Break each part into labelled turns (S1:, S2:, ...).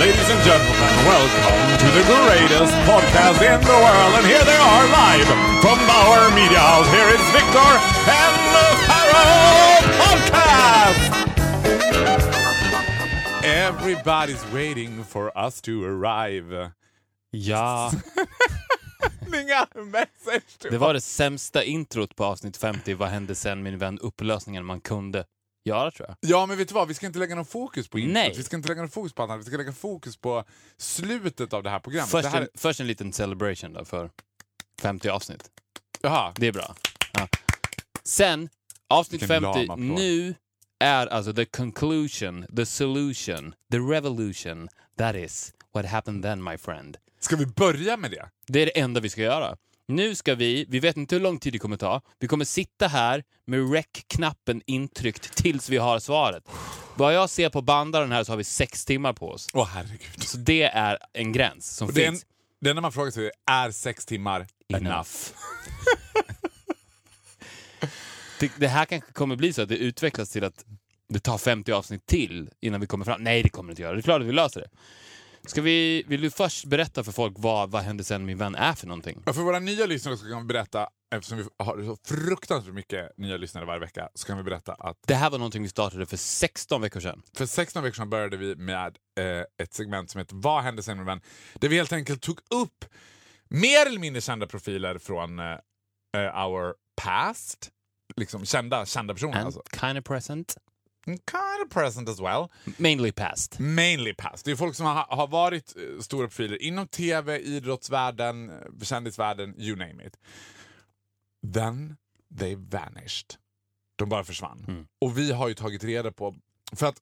S1: Ladies and gentlemen, welcome to the greatest podcast in the world. And here they are live from Bauer Media House. Here is Victor and the Pharaoh Podcast. Everybody's waiting for us to arrive.
S2: Ja,
S1: Inga message to
S2: det var det sämsta introt på avsnitt 50. Vad hände sen min vän? Upplösningen man kunde göra tror jag.
S1: Ja, men vet du vad? Vi ska inte lägga någon fokus på introt.
S2: Nej.
S1: Vi ska inte lägga någon fokus på annat. Vi ska lägga fokus på slutet av det här programmet.
S2: Först,
S1: det här...
S2: en, först en liten celebration då för 50 avsnitt.
S1: Jaha.
S2: Det är bra. Ja. Sen, avsnitt
S1: Vilken lam
S2: 50
S1: applåd.
S2: nu är alltså the conclusion, the solution, the revolution. That is what happened then my friend.
S1: Ska vi börja med det?
S2: Det är det enda vi ska göra. Nu ska vi, vi vet inte hur lång tid det kommer ta, vi kommer sitta här med rec-knappen intryckt tills vi har svaret. Vad jag ser på bandaren här så har vi sex timmar på oss.
S1: Åh, herregud.
S2: Så det är en gräns som
S1: Och det, är en,
S2: finns.
S1: det enda man frågar sig är, är sex timmar enough?
S2: Det, det här kanske kommer bli så att det utvecklas till att det tar 50 avsnitt till innan vi kommer fram. Nej, det kommer det inte göra. Det är klart att vi löser det. Ska vi, vill du först berätta för folk vad, vad hände sen min vän är för någonting?
S1: Ja, För våra nya lyssnare så kan vi berätta, eftersom vi har så fruktansvärt mycket nya lyssnare varje vecka, så kan vi berätta att
S2: Det här var någonting vi startade för 16 veckor sedan.
S1: för 16 veckor sedan började vi med eh, ett segment som heter Vad hände sen med vän? Där vi helt enkelt tog upp mer eller mindre kända profiler från eh, eh, our past. Liksom kända, kända personer
S2: And
S1: alltså. Mm,
S2: kind of present.
S1: Kind of present as well.
S2: Mainly
S1: Mm.
S2: past.
S1: Mainly past. Det är folk som har, har varit eh, stora profiler inom tv, idrottsvärlden, eh, kändisvärlden, you name it. Then they vanished. De bara försvann.
S2: Mm.
S1: Och vi har ju tagit reda på... För att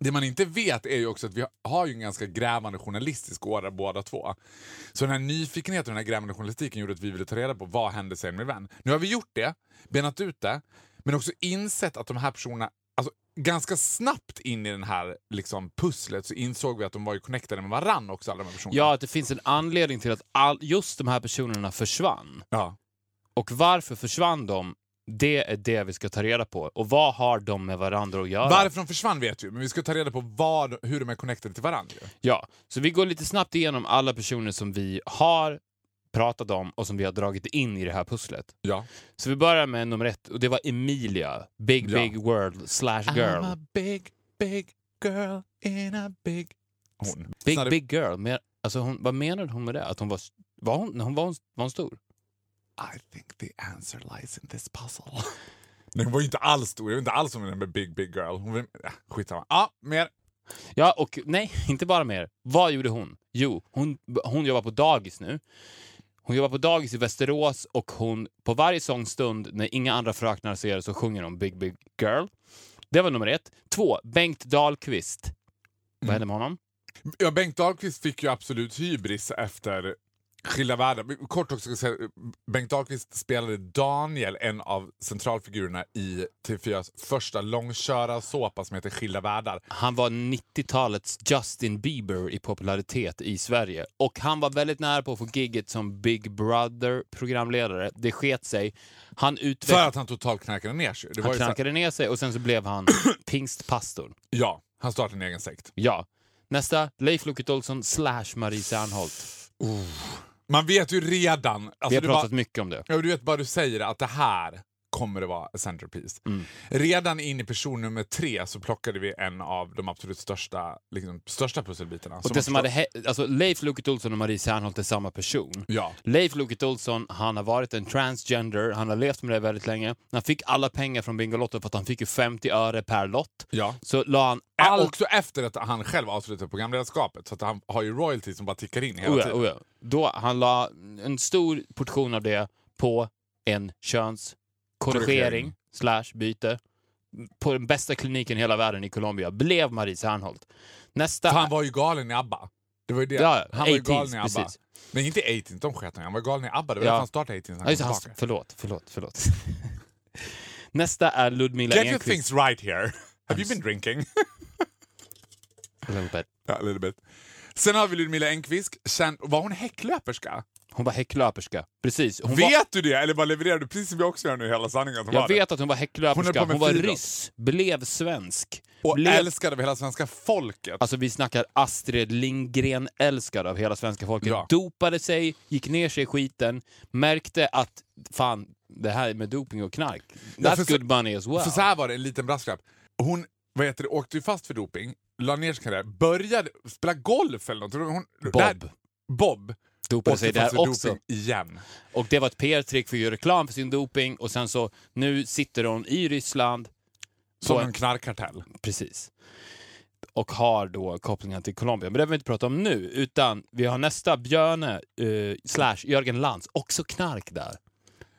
S1: det man inte vet är ju också att vi har ju en ganska grävande journalistisk ådra båda två. Så den här nyfikenheten och den här grävande journalistiken gjorde att vi ville ta reda på vad hände sen med vän. Nu har vi gjort det, benat ut det, men också insett att de här personerna Alltså, ganska snabbt in i den här liksom, pusslet så insåg vi att de var ju connectade med varann också. Alla de här personerna.
S2: Ja, att det finns en anledning till att all, just de här personerna försvann.
S1: Ja.
S2: Och varför försvann de? Det är det vi ska ta reda på. Och vad har de med varandra att göra?
S1: Varför de försvann vet vi, men vi ska ta reda på vad, hur de är connectade till varandra. ju.
S2: Ja, så vi går lite snabbt igenom alla personer som vi har pratat om och som vi har dragit in i det här pusslet.
S1: Ja.
S2: Så vi börjar med nummer ett och det var Emilia. Big
S1: Ja. Ah,
S2: Big World slash girl.
S1: I'm a big, big girl in a big... Hon.
S2: Big
S1: Snarare-
S2: Big Girl. Men, alltså, hon, vad menade hon med det? Att hon var, var, hon, hon, var, hon, var hon stor?
S1: I think the answer lies in this puzzle. Nej, hon var ju inte alls stor. Jag vet inte alls om hon är en big, big girl. Hon var... äh, Skitsamma. Ja, mer.
S2: Ja, och nej, inte bara mer. Vad gjorde hon? Jo, hon, hon jobbar på dagis nu. Hon jobbar på dagis i Västerås och hon, på varje sångstund när inga andra fröknar ser så sjunger hon Big Big Girl. Det var nummer ett. Två, Bengt Dahlqvist. Vad hände med honom?
S1: Ja, Bengt Dahlqvist fick ju absolut hybris efter Skilda världar. Kort också, ska jag säga, Bengt Dahlqvist spelade Daniel, en av centralfigurerna i TV4s första långköra-såpa som heter Skilda världar.
S2: Han var 90-talets Justin Bieber i popularitet i Sverige. Och han var väldigt nära på att få gigget som Big Brother-programledare. Det sket sig. Han
S1: För
S2: utvecklade...
S1: att han totalt knarkade ner sig. Det var
S2: Han
S1: ju så här-
S2: knackade ner sig och sen så blev han pingstpastor.
S1: ja, han startade en egen sekt.
S2: Ja. Nästa, Leif Loket Olsson slash Marie Serneholt.
S1: Man vet ju redan... Alltså
S2: Vi har
S1: det
S2: pratat
S1: var-
S2: mycket om det.
S1: Ja, du vet bara du säger det, att det här kommer det vara a centerpiece.
S2: Mm.
S1: Redan in i person nummer tre så plockade vi en av de absolut största, liksom, största pusselbitarna.
S2: Och det som hade hä- alltså, Leif Loket Olsson och Marie Serneholt är samma person.
S1: Ja.
S2: Leif Loket Olsson, han har varit en transgender, han har levt med det väldigt länge. Han fick alla pengar från Bingolotto för att han fick ju 50 öre per lott.
S1: Ja.
S2: Så la han
S1: Ä-
S2: allt...
S1: Också efter att han själv avslutade programledarskapet. Så att han har ju royalties som bara tickar in hela
S2: Oh ja,
S1: tiden.
S2: oh ja. Då, han la en stor portion av det på en könskorrigering
S1: Korrigering.
S2: slash byte på den bästa kliniken i hela världen i Colombia. Blev Marie Serneholt. Nästa...
S1: För han var ju galen i ABBA. Det var ju det.
S2: Ja, ja.
S1: han var ju
S2: 18s,
S1: galen i ABBA.
S2: precis.
S1: Nej, inte 18, de sket han i. Han var galen i ABBA. Det var
S2: Ja.
S1: därför han startade 18.
S2: Ja, just, det,
S1: han
S2: han,
S1: kom tillbaka.
S2: förlåt, förlåt, förlåt. Nästa är Ludmilla
S1: Get your
S2: Enquist.
S1: things right here. Have you been drinking?
S2: A little bit.
S1: ja, a little bit. Sen har vi Ludmilla Engqvist. Känd, var hon häcklöperska?
S2: Hon var häcklöperska. Precis. Hon
S1: vet
S2: var,
S1: du det? Eller bara levererar du precis som jag också gör nu hela sanningen? som
S2: jag
S1: var
S2: vet att hon var
S1: Hon höll
S2: häcklöperska.
S1: på med
S2: Hon var
S1: friidrott.
S2: ryss, blev svensk,
S1: Och
S2: Blev-
S1: älskad av hela svenska folket.
S2: Alltså vi snackar Astrid Lindgren älskad av hela svenska folket.
S1: Bra.
S2: Dopade sig, gick ner sig i skiten, märkte att fan, det här med doping och knark,
S1: Ja,
S2: that's
S1: för så-
S2: good money as well.
S1: För så här var det, en liten brasklapp. Hon vad heter det, åkte ju fast för doping, la ner sin karriär, började spela golf eller något. Hon,
S2: Bob
S1: Där, Bob
S2: dopade sig
S1: åkte fast
S2: där
S1: för
S2: också.
S1: doping igen.
S2: Och det var ett PR-trick för att göra reklam för sin doping och sen så, nu sitter hon i Ryssland,
S1: Som
S2: På-
S1: en knarkkartell.
S2: precis, och har då kopplingar till Colombia. Men det behöver vi inte prata om nu, utan vi har nästa Björne eh, slash Jörgen Lantz, också knark där.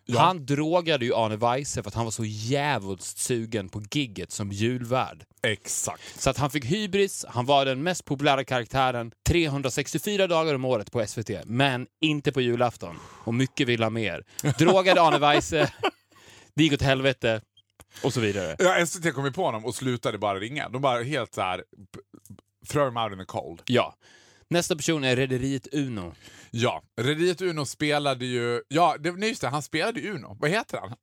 S1: Ja.
S2: Han drogade ju Arne Weise för att han var så jävligt sugen på gigget som julvärd.
S1: Exakt.
S2: Så att han fick hybris, han var den mest populära karaktären 364 dagar om året på SVT, men inte på julafton. Och mycket vill ha mer. Drogade Arne Weise, det gick åt helvete och så vidare.
S1: Ja, SVT kom ju på honom och slutade bara ringa. De bara helt så här... p- Throw him out in the cold.
S2: Ja. Nästa person är Rederiet Uno.
S1: Ja, Rederiet Uno spelade ju... Ja, det, nej just det, han spelade ju Uno. Vad heter han?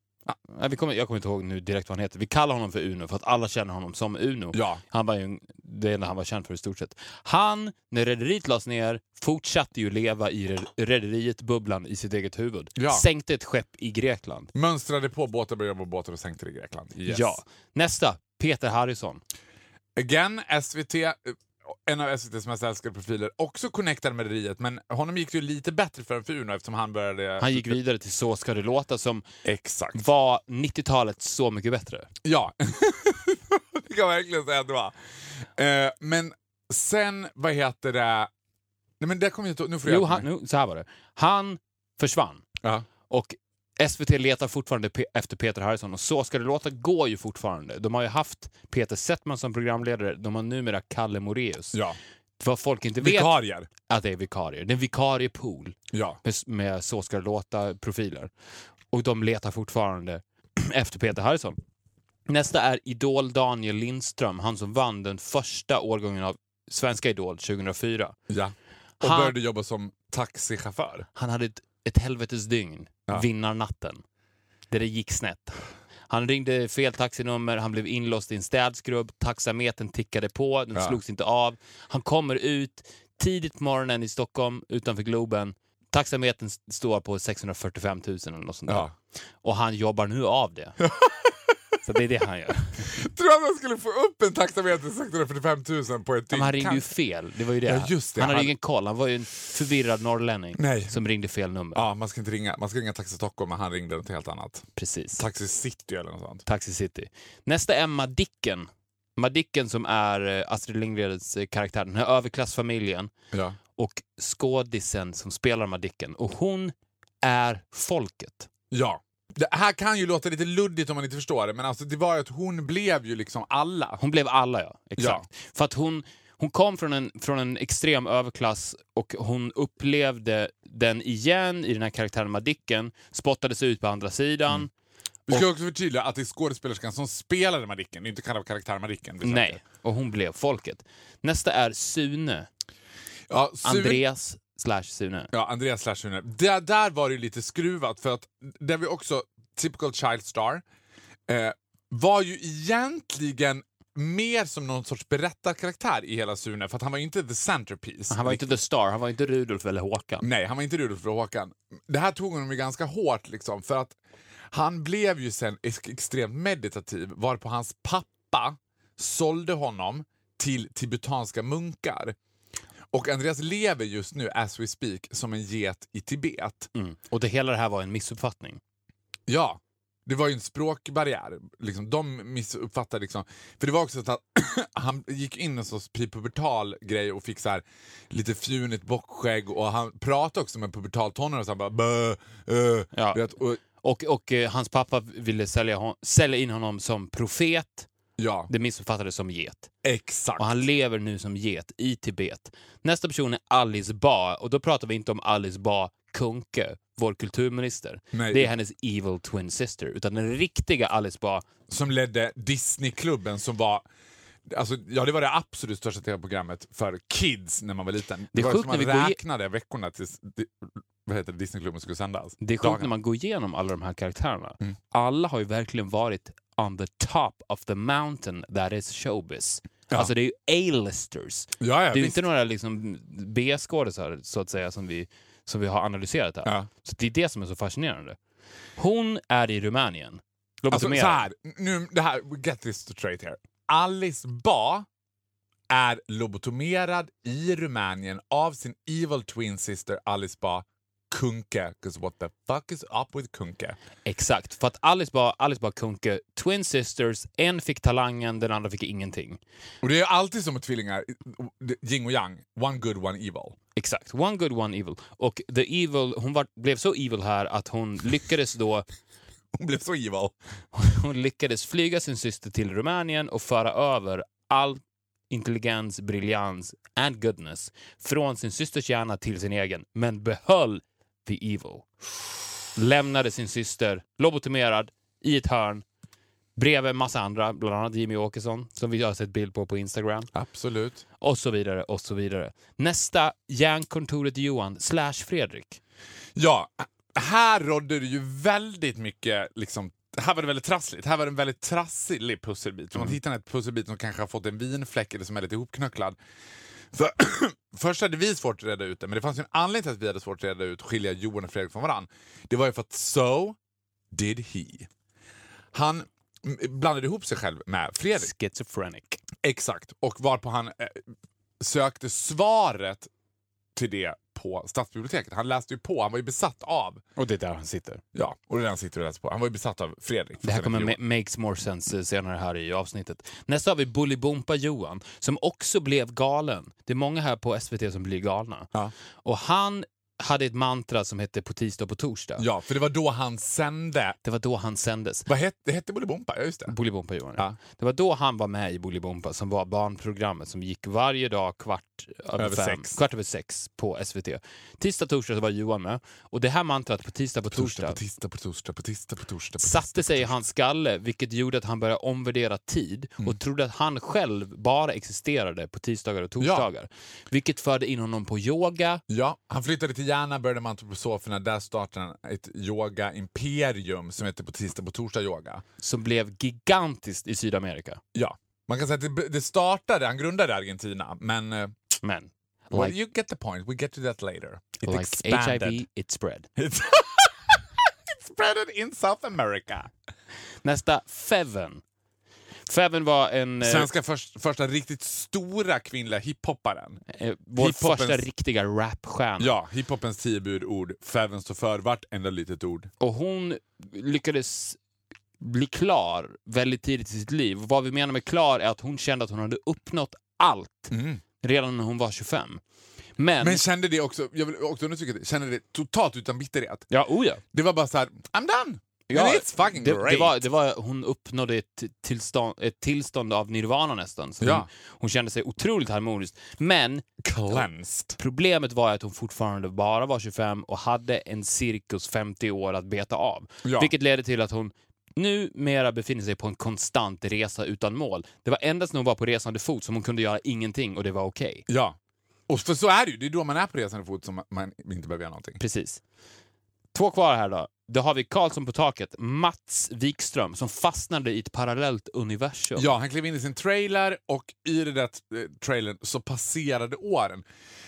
S2: Nej, vi kommer, jag kommer inte ihåg nu direkt vad han heter. Vi kallar honom för Uno för att alla känner honom som Uno.
S1: Ja.
S2: Han var ju en- det enda han var känd för i stort sett. Han, när rederiet lades ner, fortsatte ju leva i re- rederiet-bubblan i sitt eget huvud.
S1: Ja.
S2: Sänkte ett skepp i Grekland.
S1: Mönstrade på båtar, började på båtar och sänkte det i Grekland. Yes.
S2: Ja. Nästa, Peter Harrison.
S1: Again, SVT, eh, en av SVTs mest älskade profiler, också connectad med rederiet, men honom gick det ju lite bättre för än för Uno eftersom han började...
S2: Han gick vidare till Så ska det låta som
S1: Exakt.
S2: var 90-talet så mycket bättre.
S1: Ja. det kan man verkligen säga att det var. Eh, men sen, vad heter det... Nej men det kommer jag inte ihåg. Nu får jag
S2: Jo, han, nu, så här var det. Han försvann
S1: Ja.
S2: och SVT letar fortfarande pe- efter Peter Harrison och Så ska det låta går ju fortfarande. De har ju haft Peter Settman som programledare, de har numera Kalle Moreus.
S1: ja.
S2: Vad folk inte vet
S1: Vikarier.
S2: att det är vikarier. Det är en vikariepool
S1: Ja.
S2: med, med Så ska det låta-profiler. Och de letar fortfarande efter Peter Harrison. Nästa är Idol Daniel Lindström, han som vann den första årgången av Svenska Idol 2004.
S1: ja. Och
S2: Han-
S1: började jobba som taxichaufför.
S2: Han hade ett, ett helvetes dygn,
S1: Ja.
S2: vinnarnatten, där det gick snett. Han ringde fel taxinummer, han blev inlåst i en städskrubb, taxametern tickade på, den
S1: Ja.
S2: slogs inte av. Han kommer ut tidigt på morgonen i Stockholm utanför Globen. Taxametern s- står på 645 000 eller något sånt där.
S1: Ja.
S2: Och han jobbar nu av det. Så det är det han gör.
S1: Tror du att han skulle få upp en taxameter till 645 000 på ett
S2: Men
S1: dygn?
S2: han ringde ju
S1: Kanske.
S2: fel, det var ju det.
S1: Ja, just det.
S2: Han hade
S1: Han-
S2: ingen koll, han var ju en förvirrad norrlänning
S1: Nej.
S2: som ringde fel nummer.
S1: Ja, man ska inte ringa, man ska ringa Taxi Stockholm, men han ringde något helt annat.
S2: Precis.
S1: Taxi City eller något sånt.
S2: Taxi City. Nästa är Madicken. Madicken som är eh, Astrid Lindgrens eh, karaktär, den här överklassfamiljen
S1: Ja.
S2: och skådisen som spelar Madicken. Och hon är folket.
S1: ja. Det här kan ju låta lite luddigt om man inte förstår det, men alltså det var ju att hon blev ju liksom alla.
S2: Hon blev alla, ja. Exakt. För att hon, hon kom från en, från en extrem överklass och hon upplevde den igen i den här karaktären Madicken, spottades ut på andra sidan.
S1: Vi ska också förtydliga att det är skådespelerskan som spelade Madicken, det är inte själva karaktären Madicken. vi
S2: Nej,
S1: söker.
S2: och hon blev folket. Nästa är Sune.
S1: Ja, Sune-
S2: Andreas slash Sune.
S1: Ja, Andreas slash Sune. Där, där var det ju lite skruvat för att där vi också, typical child star, eh, var ju egentligen mer som någon sorts berättarkaraktär i hela Sune för att han var ju inte the centerpiece.
S2: Han var inte the star, han var inte Rudolf eller Håkan.
S1: Nej, han var inte Rudolf och Håkan. Det här tog honom ju ganska hårt liksom för att han blev ju sen ex- extremt meditativ varpå hans pappa sålde honom till tibetanska munkar. Och Andreas lever just nu, as we speak, som en get i Tibet.
S2: Mm. Och det hela det här var en missuppfattning.
S1: Ja, det var ju en språkbarriär. Liksom, de missuppfattade liksom. För det var också så att han gick in i en sorts pubertal grej och fick så här lite fjunigt bockskägg och han pratade också med pubertal tonåringar och så han bara bö, eh,
S2: Ja.
S1: du vet, och,
S2: Och, och eh, hans pappa ville sälja, hon, sälja in honom som profet.
S1: ja,
S2: Det missuppfattades som get.
S1: exakt.
S2: Och han lever nu som get i Tibet. Nästa person är Alice Ba. Och då pratar vi inte om Alice Ba Kuhnke, vår kulturminister.
S1: Nej.
S2: Det är hennes evil twin sister. Utan den riktiga Alice Ba
S1: Som ledde Disneyklubben som var Alltså, ja, det var det absolut största tv-programmet för kids när man var liten. Det,
S2: är
S1: var ju som
S2: sjukt
S1: man
S2: när vi går i-
S1: räknade veckorna tills di, vad heter det, Disneyklubben skulle sändas.
S2: Det är sjukt
S1: Dagarna. Mm.
S2: när man går igenom alla de här karaktärerna. Alla har ju verkligen varit on the top of the mountain that is showbiz.
S1: Ja.
S2: Alltså det är ju A-listers.
S1: Ja, ja,
S2: det är ju
S1: visst.
S2: inte några liksom B-skådisar så att säga som vi, som vi har analyserat här.
S1: Ja.
S2: Så det är det som är så fascinerande. Hon är i Rumänien. Låt mig
S1: Alltså,
S2: summera.
S1: så här, nu, det här, get this straight here. Alice Ba är lobotomerad i Rumänien av sin evil twin sister Alice Ba Kunke. 'Cause what the fuck is up with Kunke?
S2: Exakt, för att Alice bara, Alice bara Kuhnke, Twin Sisters, en fick talangen, den andra fick ingenting.
S1: Och det är alltid som med tvillingar, yin och yang. One good, one evil.
S2: Exakt, one good, one evil. Och the evil, hon var, blev så evil här att hon lyckades då
S1: Hon blev så evil.
S2: hon lyckades flyga sin syster till Rumänien och föra över all intelligens, briljans and goodness från sin systers hjärna till sin egen, men behöll the evil. Lämnade sin syster lobotomerad i ett hörn bredvid en massa andra, bland annat Jimmy Åkesson som vi har sett bild på på Instagram
S1: Absolut.
S2: och så vidare och så vidare. Nästa, Järnkontoret Johan slash Fredrik.
S1: Ja, här rådde det ju väldigt mycket... Liksom, här var det väldigt trassligt. Här var det en väldigt trasslig pusselbit. Om man hittar en pusselbit som kanske har fått en vinfläck eller som är lite ihopknöcklad. För, först hade vi svårt att reda ut det, men det fanns ju en anledning till att vi hade svårt att reda ut och skilja Johan och Fredrik från varann. Det var ju för att so did he. Han mm, blandade ihop sig själv med Fredrik.
S2: Schizophrenic.
S1: Exakt. Och varpå han eh, sökte svaret till det på Stadsbiblioteket. Han läste ju på, han var ju besatt av...
S2: Och det är där han sitter.
S1: Ja, och det där sitter och läser på. Han var ju besatt av Fredrik.
S2: Det här kommer
S1: Johan.
S2: ma- makes more sense eh, senare här i avsnittet. Nästa har vi Bolibompa Johan som också blev galen. Det är många här på SVT som blir galna.
S1: Ja.
S2: Och han hade ett mantra som hette på tisdag och på torsdag.
S1: Ja, för det var då han sände...
S2: Det var då han sändes.
S1: Vad hette, det hette Bolibompa? Ja, just det.
S2: Bolibompa Johan.
S1: Ja.
S2: Det var då han var med i Bolibompa som var barnprogrammet som gick varje dag kvart över,
S1: Över
S2: fem,
S1: sex.
S2: kvart över sex på SVT. Tisdag, torsdag så var Johan med. Och det här mantrat på tisdag, på
S1: Torsdag
S2: torsdag,
S1: på tisdag på torsdag på tisdag på torsdag. På tisdag.
S2: satte sig i hans skalle, vilket gjorde att han började omvärdera tid och trodde att han själv bara existerade på tisdagar och torsdagar. Vilket förde in honom på yoga.
S1: Ja, han flyttade till Järna, började med antroposoferna. Där startade han ett yoga-imperium som hette på tisdag på torsdag yoga.
S2: som blev gigantiskt i Sydamerika.
S1: Ja, man kan säga att det, det startade, han grundade Argentina, men eh,
S2: Men
S1: Well,
S2: like,
S1: you get the point. We get to that later. It
S2: like
S1: expanded.
S2: HIV, it spread.
S1: It spreaded in South America.
S2: Nästa, Feven. Feven var en... eh,
S1: Svenska först, första riktigt stora kvinnliga hiphopparen.
S2: eh, vår
S1: hiphopens-
S2: första riktiga rapstjärna.
S1: Ja, hiphopens tio budord. Fäven står för vartenda litet ord.
S2: Och hon lyckades bli klar väldigt tidigt i sitt liv. Vad vi menar med klar är att hon kände att hon hade uppnått allt redan när hon var 25. Men...
S1: Mm. Men kände det också, jag vill också understryka det, kände det totalt utan bitterhet.
S2: ja, oh ja.
S1: Det var bara så här, I'm done!
S2: ja
S1: And it's fucking
S2: det,
S1: great!
S2: det var, det var, hon uppnådde ett tillstånd, ett tillstånd av nirvana nästan. Så
S1: Ja.
S2: hon, hon kände sig otroligt harmonisk. Men
S1: Cleansed.
S2: problemet var att hon fortfarande bara var 25 och hade en cirkus 50 år att beta av.
S1: Ja.
S2: Vilket ledde till att hon numera befinner sig på en konstant resa utan mål. Det var endast när hon var på resande fot som hon kunde göra ingenting och det var okej.
S1: Ja. Och för så är det ju, det är då man är på resande fot som man inte behöver göra någonting.
S2: Precis. Två kvar här då. Då har vi Karlsson på taket, Mats Wikström, som fastnade i ett parallellt universum.
S1: Ja, han klev in i sin trailer och i den där eh, trailern så passerade åren.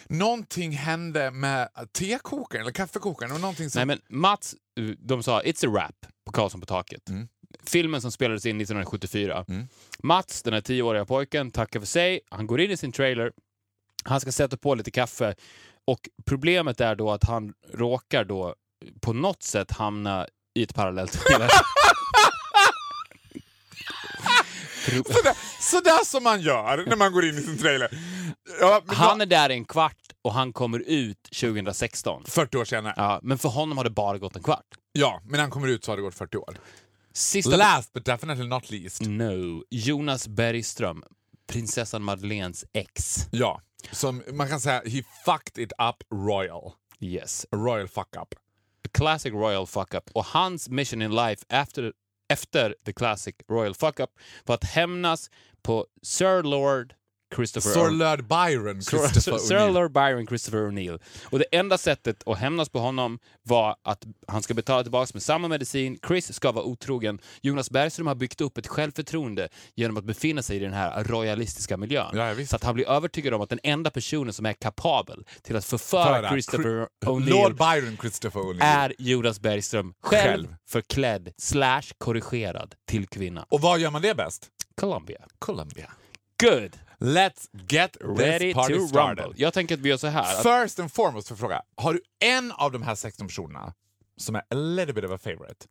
S1: Någonting hände med tekokaren eller kaffekokaren. Det var någonting som...
S2: Nej men Mats, uh, de sa “It's a wrap” på Karlsson på taket.
S1: Mm.
S2: Filmen som spelades in 1974.
S1: Mm.
S2: Mats, den här tioåriga pojken, tackar för sig. Han går in i sin trailer. Han ska sätta på lite kaffe. Och problemet är då att han råkar då på något sätt hamna i ett parallellt universum. Pro-
S1: Sådär, sådär som man gör när man går in i sin trailer. Ja, men
S2: Han
S1: då-
S2: är där en kvart och han kommer ut 2016.
S1: 40 år senare. Ja.
S2: Ja, men för honom har det bara gått en kvart.
S1: men han kommer ut så har det gått 40 år.
S2: Sista...
S1: Last but definitely not least.
S2: No. Jonas Bergström, prinsessan Madeleines ex.
S1: Ja, som man kan säga, he fucked it up royal.
S2: Yes.
S1: A royal fuck up.
S2: A classic royal fuck-up. Och hans mission in life efter, efter the classic royal fuck-up var att hämnas på Sir Lord Christopher
S1: Sir
S2: O-
S1: Lord Byron,
S2: Sir-
S1: Christopher
S2: Sir- Sir
S1: O'Neill.
S2: Lord Byron Christopher O'Neill. Och det enda sättet att hämnas på honom var att han ska betala tillbaka med samma medicin, Chris ska vara otrogen. Jonas Bergström har byggt upp ett självförtroende genom att befinna sig i den här royalistiska miljön.
S1: Ja, ja, visst.
S2: så att han blir övertygad om att den enda personen som är kapabel till att förföra
S1: Föra.
S2: Christopher
S1: Lord
S2: O'Neill
S1: Byron Christopher O'Neill.
S2: är Jonas Bergström själv,
S1: Själv.
S2: förklädd slash korrigerad till kvinna.
S1: Och var gör man det bäst?
S2: Colombia.
S1: Colombia.
S2: Good!
S1: Let's get
S2: Ready
S1: this
S2: to
S1: party started.
S2: rumble. Jag tänker att vi gör så här. Att
S1: First and foremost, för fråga, har du en av de här 16 personerna som är a little bit of a favorite?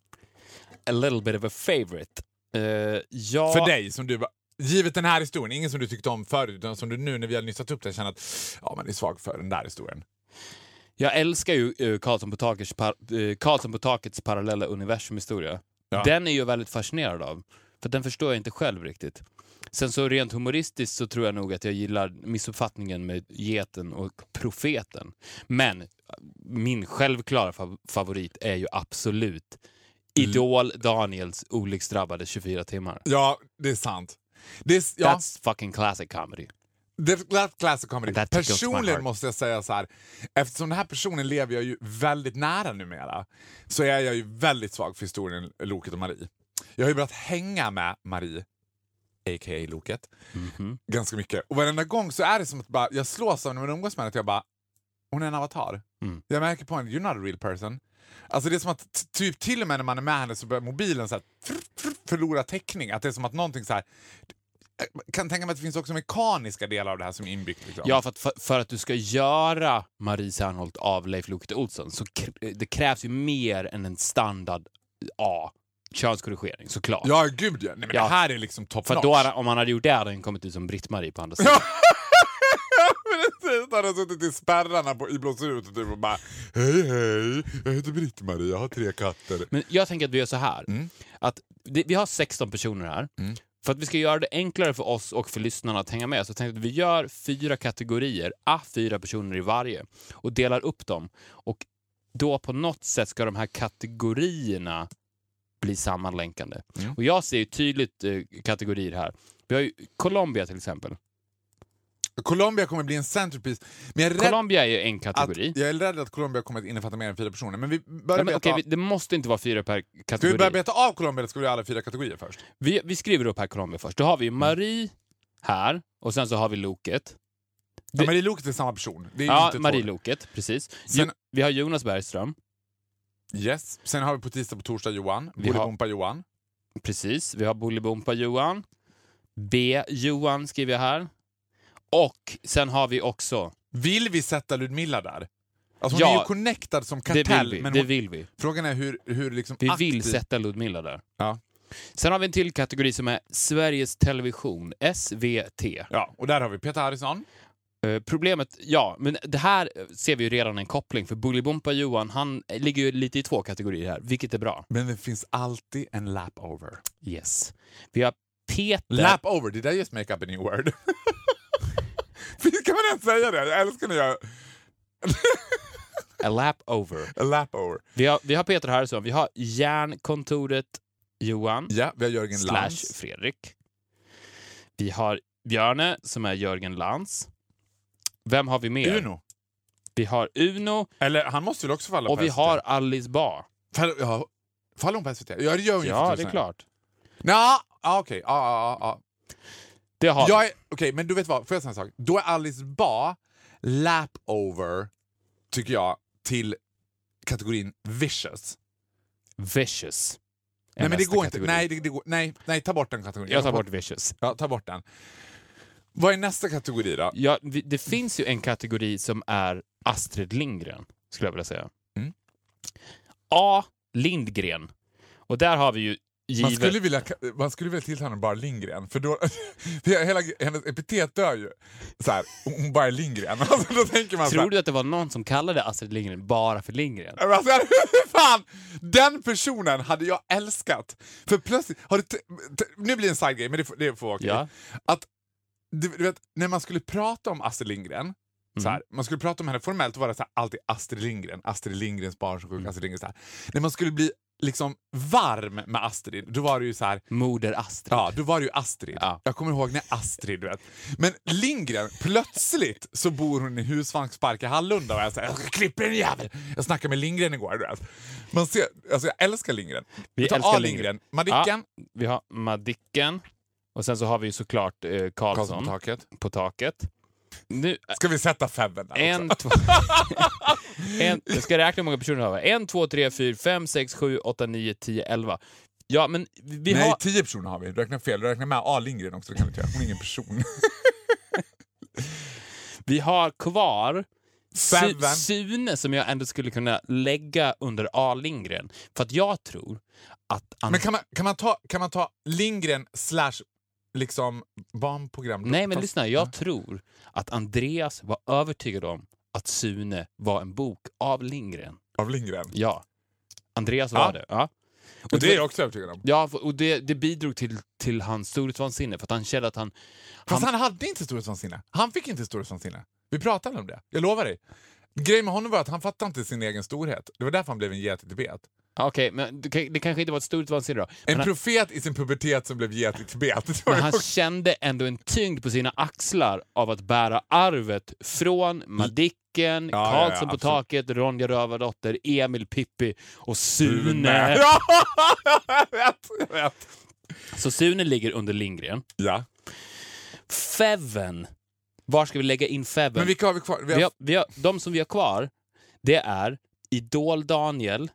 S2: a little bit of a favorite. Eh, ja,
S1: För dig, som du bara- givet den här historien, ingen som du tyckte om förut, utan som du nu när vi har nystat upp det känner att ja, man är svag för den där historien.
S2: jag älskar ju eh, Karlsson, på takets par, eh, Karlsson på takets parallella universumhistoria.
S1: Ja.
S2: Den är jag väldigt fascinerad av, för den förstår jag inte själv riktigt. Sen så rent humoristiskt så tror jag nog att jag gillar missuppfattningen med geten och profeten. Men eh, min självklara fav- favorit är ju absolut Idol Daniels olycksdrabbade 24 timmar.
S1: Ja, det är sant. Det är, s- ja,
S2: That's fucking classic comedy.
S1: det, that classic comedy.
S2: That tickles my heart.
S1: Personligen måste jag säga så här, eftersom den här personen lever jag ju väldigt nära numera, så är jag ju väldigt svag för historien Loket och Marie. Jag har ju börjat hänga med Marie, a.k.a. Loket,
S2: Mhm.
S1: ganska mycket. Och varenda gång så är det som att bara, jag slås av när man umgås med henne att jag bara, hon är en avatar.
S2: Mm.
S1: Jag märker på henne, you're not a real person. Alltså det är som att t- typ till och med när man är med henne så börjar mobilen så här, frr, frr, förlora täckning. Att det är som att någonting så här, jag kan tänka mig att det finns också mekaniska delar av det här som är inbyggt. Liksom.
S2: Ja, för att, för, för att du ska göra Marie Serneholt av Leif Loket Olsson så kr- det krävs ju mer än en standard A könskorrigering såklart.
S1: ja gud ja. Nej, men
S2: Ja.
S1: Det här är liksom top
S2: för att
S1: notch.
S2: då hade, om han hade gjort det hade han kommit ut som Britt-Marie på andra sidan.
S1: Men Han har suttit i spärrarna på, i blåsut och typ och bara Hej hej, jag heter Britt-Marie, jag har tre katter.
S2: Men jag tänker att vi gör så här.
S1: Mm.
S2: Att det, vi har 16 personer här.
S1: Mm.
S2: För att vi ska göra det enklare för oss och för lyssnarna att hänga med så tänkte jag att vi gör fyra kategorier, a fyra personer i varje, och delar upp dem. Och då på något sätt ska de här kategorierna bli sammanlänkande.
S1: Mm.
S2: Och jag ser ju tydligt eh, kategorier här. Vi har ju Colombia till exempel.
S1: Colombia kommer bli en centerpiece, men jag är rädd
S2: Colombia är ju en
S1: att,
S2: kategori.
S1: jag är rädd att Colombia kommer att innefatta mer än fyra personer. Men vi
S2: Ja,
S1: börjar
S2: men,
S1: beta,
S2: okej,
S1: av-
S2: vi, det måste inte vara fyra per
S1: Ska vi
S2: kategori.
S1: börja beta av Colombia eller ska vi göra alla fyra kategorier först?
S2: Vi, vi skriver upp här Colombia först. Då har vi
S1: Mm.
S2: ju Marie här och sen så har vi Loket.
S1: Ja, Marie Loket är samma person. Det är ju
S2: Ja,
S1: inte två.
S2: Marie Loket, precis.
S1: Sen-
S2: Jo, vi har Jonas Bergström,
S1: Yes. Sen har vi på tisdag på torsdag Johan,
S2: Vi har-
S1: Bolibompa Johan.
S2: precis. Vi har Bolibompa Johan. B. Johan skriver jag här. Och sen har vi också...
S1: Vill vi sätta Ludmilla där? Alltså hon
S2: Ja.
S1: är ju connectad som
S2: det vill
S1: kartell,
S2: vi.
S1: men
S2: det
S1: hon,
S2: vill vi.
S1: frågan är hur, hur liksom
S2: Vi vill
S1: aktiv-
S2: sätta Ludmilla där.
S1: Ja.
S2: Sen har vi en till kategori som är Sveriges Television, SVT.
S1: Ja, och där har vi Peter Harrison.
S2: Eh, Problemet, ja, men det här ser vi ju redan en koppling för Bolibompa Johan, han ligger ju lite i två kategorier här, vilket är bra.
S1: Men det finns alltid en lap over.
S2: Yes. Vi har Peter...
S1: Lap over, did I just make up a new word? Finns- kan man ens säga det? Jag älskar när jag...
S2: A lap over.
S1: A lap over.
S2: Vi har, vi har Peter Harrison, vi har Järnkontoret Johan
S1: Ja, vi har Jörgen
S2: slash
S1: Lantz.
S2: Fredrik. Vi har Björne som är Jörgen Lantz. Vem har vi mer?
S1: Uno.
S2: Vi har Uno
S1: Eller han måste väl också falla
S2: och
S1: på
S2: vi
S1: SVT?
S2: har Alice Ba.
S1: Fall, ja, faller hon på SVT? Ja, det gör hon ju för
S2: Ja, det
S1: tusan.
S2: är klart.
S1: Nja, ja, okej. Ja, ja, ja,
S2: Det har
S1: ja.
S2: vi.
S1: Jag är- Okej, men du vet vad? Får jag säga en sak? Då är Alice Ba lap over, tycker jag, till kategorin vicious.
S2: Vicious. är
S1: Nej, men det
S2: nästa
S1: går
S2: kategori.
S1: inte. Nej, det, det går, nej, nej, ta bort den kategorin.
S2: Jag tar bort Vicious.
S1: Ja, ta bort den. Vad är nästa kategori då?
S2: Ja, vi- det finns ju en kategori som är Astrid Lindgren, skulle jag vilja säga.
S1: Mm.
S2: A. Lindgren. Och där har vi ju
S1: Man
S2: givet...
S1: skulle vilja, man skulle vilja tillta henne bara Lindgren, för då... För hela, hennes epitet dör ju. Så här, hon bara är Lindgren. Alltså, då tänker man så här,
S2: Tror du att det var någon som kallade Astrid Lindgren bara för Lindgren?
S1: Men Alltså, hur fan! Den personen hade jag älskat. För plötsligt, har du t- t- nu blir det en side game, men det får, det får vara okej.
S2: Ja.
S1: Att, du, du vet, när man skulle prata om Astrid Lindgren Så här, man skulle prata om henne formellt och vara så här, alltid Astrid Lindgren, Astrid Lindgrens barn som sjuk, Astrid Lindgren. Så här. När man skulle bli liksom varm med Astrid, då var det ju så här,
S2: Moder Astrid.
S1: Ja, då var det ju Astrid.
S2: Ja.
S1: Jag kommer ihåg när Astrid, du vet. Men Lindgren, plötsligt så bor hon i husvagnspark i Hallunda och jag säger jag ska klippa den jäveln. Jag snackade med Lindgren igår, du vet. Man ser, alltså jag älskar Lindgren.
S2: Vi
S1: Vi tar
S2: älskar
S1: A
S2: Lindgren.
S1: Lindgren, Madicken,
S2: Vi har Madicken och sen så har vi ju såklart eh, Karlsson,
S1: Karlsson på
S2: på,
S1: taket.
S2: taket. Nu,
S1: Ska vi sätta femmen där
S2: en,
S1: också?
S2: två, en, jag ska räkna hur många personer vi har. En, två, tre, fyra, fem, sex, sju, åtta, nio, tio, elva. Ja, men vi vi
S1: Nej,
S2: har...
S1: tio personer har vi. Du räknar fel. Du räknar med A Lindgren också. Det kan du inte göra. Hon är ingen person.
S2: Vi har kvar Su-
S1: Seven.
S2: Sune som jag ändå skulle kunna lägga under A. Lindgren. För att jag tror att... An-
S1: Men kan man, kan man, ta, kan man ta Lindgren slash liksom barnprogram?
S2: Nej, men
S1: Fast-
S2: lyssna. Jag tror att Andreas var övertygad om att Sune var en bok av Lindgren.
S1: Av Lindgren.
S2: Ja. Andreas
S1: Ja.
S2: var det. Ja.
S1: Och det är jag också övertygad om.
S2: Ja, och det, det bidrog till, till hans storhetsvansinne för att han kände att han...
S1: Fast han hade inte storhetsvansinne. Han fick inte storhetsvansinne. Vi pratade om det. Jag lovar dig. Grejen med honom var att han fattade inte sin egen storhet. Det var därför han blev en get i Tibet.
S2: Ja, Okej, men det, kan- det kanske inte var ett storhetsvansinne då.
S1: En
S2: Men han,
S1: profet i sin pubertet som blev get i Tibet. Det var
S2: men
S1: ju
S2: han
S1: också-
S2: kände ändå en tyngd på sina axlar av att bära arvet från Madicken,
S1: ja, ja,
S2: Karlsson på
S1: absolut.
S2: taket, Ronja Rövardotter, Emil Pippi och Sune.
S1: Ja, jag vet, jag vet.
S2: Så Sune ligger under Lindgren.
S1: Ja.
S2: Feven. Var ska vi lägga in Feven?
S1: Men vilka har vi kvar? Vi har,
S2: Vi har, vi har, de som vi har kvar, det är Idol Daniel,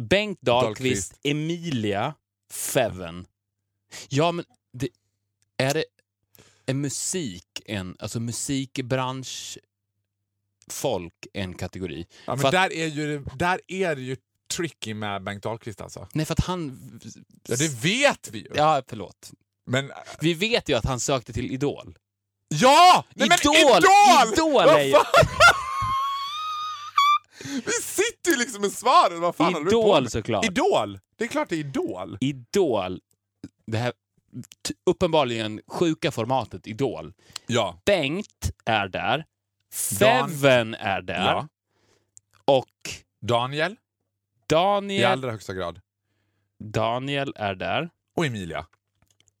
S2: Bengt Dahlqvist,
S1: Dahlqvist.
S2: Emilia, Feven. Ja, men det, är det är musik en, alltså musikbransch, folk en kategori?
S1: ja,
S2: för
S1: men
S2: att-
S1: där, är ju, det- där är det ju tricky med Bengt Dahlqvist alltså.
S2: Nej, för att han...
S1: Ja, det vet vi ju.
S2: Ja, förlåt.
S1: Men, äh,
S2: Vi vet ju att han sökte till Idol.
S1: ja! Nej, men
S2: Idol!
S1: Idol!
S2: Idol
S1: Vad
S2: är ju-
S1: fan? Vi sitter ju liksom med svaret. Vad fan håller du på
S2: Idol
S1: med?
S2: såklart.
S1: Idol! Det är klart det är Idol.
S2: Idol, det här t- uppenbarligen sjuka formatet Idol.
S1: Ja.
S2: Bengt är där,
S1: Dan-
S2: Feven är där
S1: Ja.
S2: och
S1: Daniel i
S2: Daniel,
S1: allra högsta grad.
S2: Daniel är där.
S1: Och Emilia.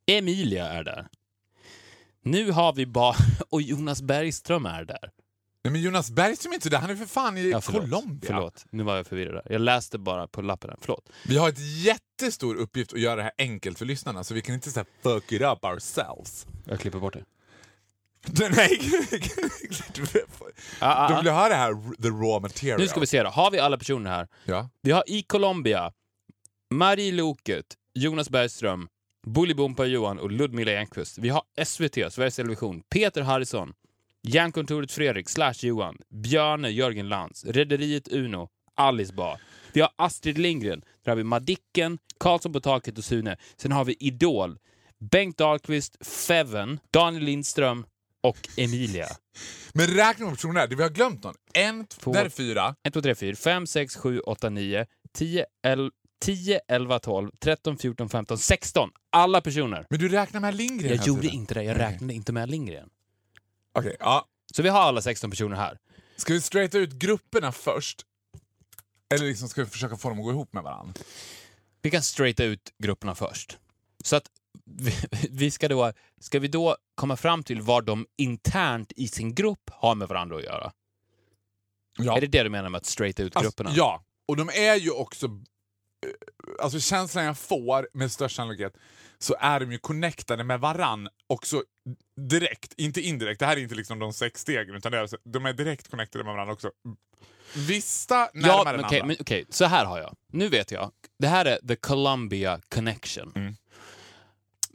S2: Emilia är där. Nu har vi bara... Och Jonas Bergström är där.
S1: Nej, men Jonas Bergström är inte där. Han är för fan i
S2: Ja, förlåt.
S1: Colombia.
S2: Förlåt, nu var jag förvirrad. Där. Jag läste bara på lappen. Där. Förlåt.
S1: Vi har ett jättestor uppgift att göra det här enkelt för lyssnarna så vi kan inte så här fuck it up ourselves.
S2: Jag klipper bort det.
S1: Nej, du vill-
S2: Ah, ah,
S1: du
S2: ah.
S1: vill ha det här the raw material.
S2: Nu ska vi se då. Har vi alla personer här?
S1: Ja.
S2: Vi har i Colombia Marie Loket, Jonas Bergström, Bolibompa Johan och Ludmilla Järnqvist. Vi har SVT, Sveriges Television, Peter Harrison, Järnkontoret Fredrik, slash Johan, Björne Jörgen Lantz, Rederiet Uno, Alice Ba. Vi har Astrid Lindgren, där har vi Madicken, Karlsson på taket och Sune. Sen har vi Idol, Bengt Dahlqvist, Feven, Daniel Lindström och Emilia.
S1: Men räkna med personerna. här. Vi har glömt någon. En, två,
S2: Två.
S1: där är fyra.
S2: 1, 2, 3, 4, 5, 6, 7, 8, 9, 10, 11, 10, 11 12, 13, 14, 15, 16. Alla personer.
S1: Men du räknar med Lindgren
S2: Jag
S1: hela
S2: gjorde
S1: tiden.
S2: inte det, jag
S1: Okej.
S2: räknade inte med Lindgren.
S1: Okej, ja.
S2: Så vi har alla 16 personer här.
S1: Ska vi straighta ut grupperna först? Eller liksom ska vi försöka få dem att gå ihop med varandra?
S2: Vi kan straighta ut grupperna först. Så att vi, vi ska då, ska vi då komma fram till vad de internt i sin grupp har med varandra att göra?
S1: Ja.
S2: Är det det du menar med att straighta ut
S1: Alltså,
S2: grupperna?
S1: Ja, och de är ju också... eh, Alltså känslan jag får med största sannolikhet så är de ju connectade med varann också direkt, inte indirekt. Det här är inte liksom de sex stegen utan det är, alltså, de är direkt connectade med varandra också. Vissa närmare
S2: Ja,
S1: än
S2: men okej,
S1: andra.
S2: men okej, så här har jag. Nu vet jag. Det här är the Columbia connection.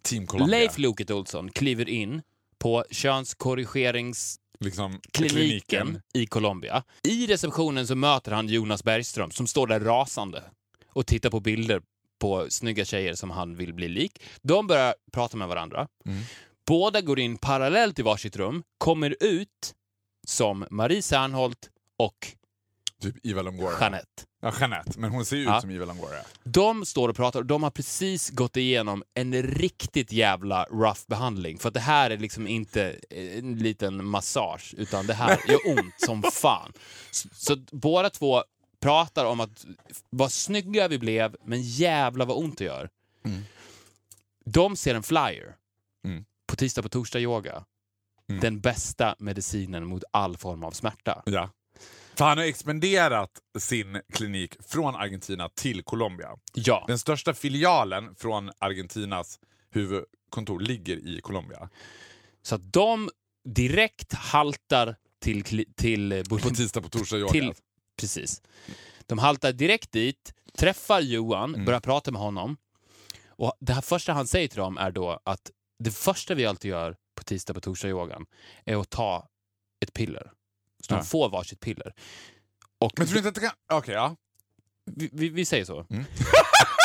S1: Team Colombia.
S2: Leif Loket Olsson kliver in på könskorrigeringskliniken
S1: liksom, kliniken.
S2: i Colombia. I receptionen så möter han Jonas Bergström som står där rasande och tittar på bilder på snygga tjejer som han vill bli lik. De börjar prata med varandra.
S1: Mm.
S2: Båda går in parallellt i varsitt rum, kommer ut som Marie Serneholt och
S1: Typ Eva Longoria.
S2: Jeanette.
S1: Ja, Jeanette. Men hon ser ju
S2: Ja.
S1: ut som Eva Longoria.
S2: De står och pratar och de har precis gått igenom en riktigt jävla rough behandling. För att det här är liksom inte en liten massage, utan det här gör ont som fan. Så, så att båda två pratar om att vad snygga vi blev, men jävla vad ont det gör.
S1: Mm.
S2: De ser en flyer
S1: Mm.
S2: på tisdag på torsdag yoga.
S1: Mm.
S2: Den bästa medicinen mot all form av smärta.
S1: Ja. För han har expanderat sin klinik från Argentina till Colombia.
S2: Ja.
S1: Den största filialen från Argentinas huvudkontor ligger i Colombia.
S2: Så att de direkt haltar till, kli- till, eh,
S1: På
S2: Bur-
S1: tisdag, på torsdag, yoga.
S2: till Precis. De haltar direkt dit, träffar Johan,
S1: Mm.
S2: börjar prata med honom. Och det här första han säger till dem är då att det första vi alltid gör på tisdag på torsdag yogan är att ta ett piller. Så de
S1: Ja.
S2: får varsitt piller. Och
S1: Men tror du inte att det kan... Okej, ja.
S2: vi, vi, vi säger så.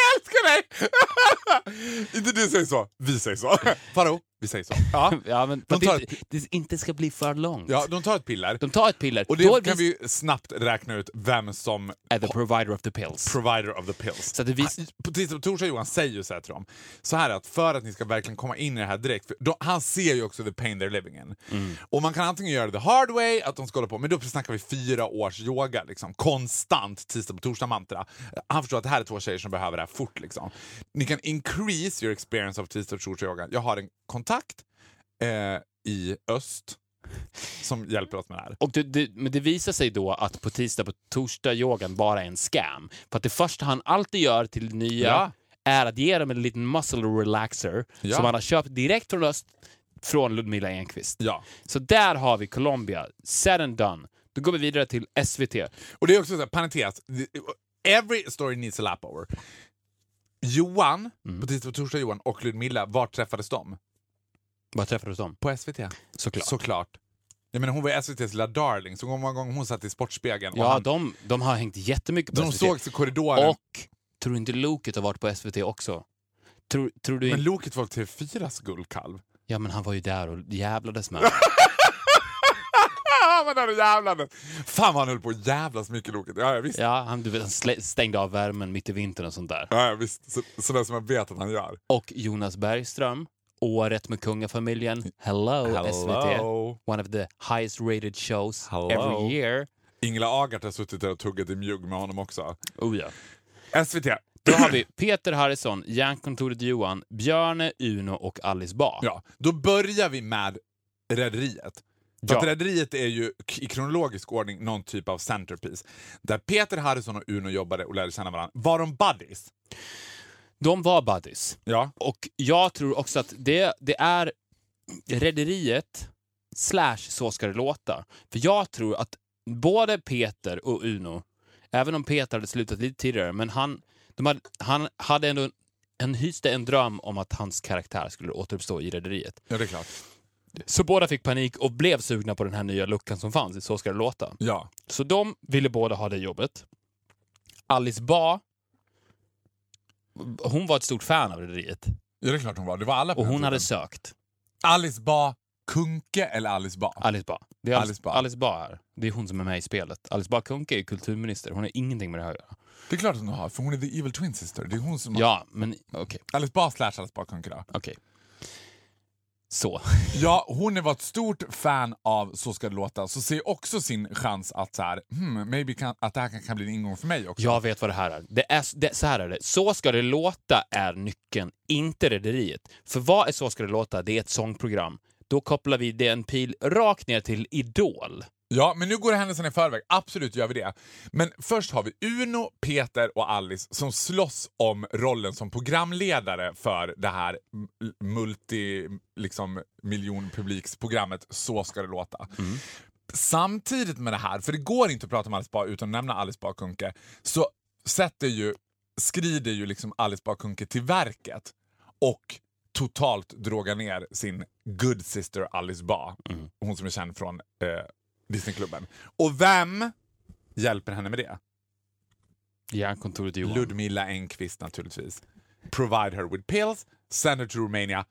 S1: Jag älskar dig! inte du säger så, vi säger så. Faro, vi säger så. Ja.
S2: Ja, men för att
S1: tar
S2: det, inte, det inte ska bli för långt.
S1: Ja, de tar ett piller.
S2: De tar ett piller.
S1: Och
S2: då är
S1: det kan
S2: vi,
S1: vi ju snabbt räkna ut vem som
S2: är the provider of the pills.
S1: provider of the pills.
S2: Så att det vis-
S1: Han- på tisdag och torsdag Johan säger ju så här till dem. Så här att för att ni ska verkligen komma in i det här direkt. För de, han ser ju också the pain they're living in. Och man kan antingen göra det the hard way, att de ska hålla på. Men då snackar vi fyra års yoga. Liksom, konstant tisdag på torsdag mantra. Han förstår att det här är två tjejer som behöver det här fort. Liksom. Ni kan increase your experience of tisdag och torsdag yoga. Jag har en kontakt eh, i öst som hjälper oss med det här.
S2: Och det, det, men det visar sig då att på tisdag på torsdag yogan bara är en scam. För att det första han alltid gör till nya
S1: Ja.
S2: är att ge dem en liten muscle relaxer
S1: Ja.
S2: som han har köpt direkt från öst från Ludmilla Enquist.
S1: Ja.
S2: Så där har vi Colombia, said and done. Då går vi vidare till SVT.
S1: Och det är också så här, parentes. Every story needs a lap over. Johan,
S2: Mm.
S1: på tisdag och torsdag Johan och Ludmilla, var träffades de?
S2: Vad träffade du dem?
S1: På SVT.
S2: Såklart.
S1: Såklart. Jag menar, hon var SVTs lilla darling, så många gånger hon satt i Sportspegeln och
S2: ja,
S1: han,
S2: de, de har hängt jättemycket på
S1: de
S2: SVT.
S1: sågs i korridoren.
S2: Och tror inte Loket har varit på SVT också? Tror, tror du
S1: men
S2: inte?
S1: Loket var TV4s guldkalv.
S2: Ja, men han var ju där och jävlades med.
S1: Ah, men där är jävlandet. Fan vad han höll på att jävlas mycket Loket. Ja, ja, visst. Ja.
S2: Ja, han, du vet, han slä- stängde av värmen mitt i vintern och sånt där.
S1: Ja, visst. Så, sådär som man vet att han gör.
S2: Och Jonas Bergström, Året med kungafamiljen. Hello, SVT. One of the highest rated shows
S1: Hello.
S2: every year.
S1: Ingela Agart har suttit där och tuggat i mjugg med honom också.
S2: Oh, ja.
S1: SVT.
S2: Då har vi Peter Harrison, Järnkontoret Johan, Björne, Uno och Alice Bah.
S1: Ja, då börjar vi med Rederiet. För
S2: Ja.
S1: att Rederiet är ju k- i kronologisk ordning någon typ av centerpiece. Där Peter Harrison och Uno jobbade och lärde känna varandra. Var de buddies?
S2: De var buddies.
S1: Ja.
S2: Och jag tror också att det, det är Rederiet slash Så ska det låta. För jag tror att både Peter och Uno, även om Peter hade slutat lite tidigare, men han, de hade, han hade ändå han hyste en dröm om att hans karaktär skulle återuppstå i Rederiet.
S1: Ja, det är klart.
S2: Så båda fick panik och blev sugna på den här nya luckan som fanns i Så ska det låta.
S1: Ja.
S2: Så de ville båda ha det jobbet. Alice Ba, hon var ett stort fan av Rederiet
S1: ja, det är klart hon var. Det var alla på
S2: och
S1: den
S2: hon
S1: tiden.
S2: hade sökt.
S1: Alice Ba Kunke eller Alice Ba?
S2: Alice Bah. Det är Alice,
S1: Alice
S2: Alice,
S1: Bah.
S2: Bah. här. Det är hon som är med i spelet. Alice Bah Kuhnke är kulturminister. Hon har ingenting med det här att göra.
S1: Det är klart att hon har, för hon är the evil twin sister. Det är hon som har...
S2: Ja, men okej.
S1: Alice Ba slash Alice Ba Kunke då.
S2: okej. Så.
S1: Ja, hon var ett stort fan av Så ska det låta, så ser också sin chans att så här, hmm, maybe kan, att det här kan, kan bli en ingång för mig också.
S2: Jag vet vad det här är. Det är det, så här är det. Så ska det låta är nyckeln, inte Rederiet. För vad är Så ska det låta? Det är ett sångprogram. Då kopplar vi det en pil rakt ner till Idol.
S1: Ja, men nu går händelsen i förväg. Absolut gör vi det. Men först har vi Uno, Peter och Alice som slåss om rollen som programledare för det här m- multi liksom, miljonpubliksprogrammet Så ska det låta. Samtidigt med det här, för det går inte att prata om Alice Bah utan att nämna Alice Bah Kuhnke, så sätter ju, skrider ju liksom Alice Bah Kuhnke till verket och totalt drogar ner sin good sister Alice Bah, hon som är känd från eh, Disneyklubben. Och vem hjälper henne med det?
S2: Järnkontoret Johan.
S1: Ludmilla Engqvist naturligtvis. Provide her with pills, send her to Romania.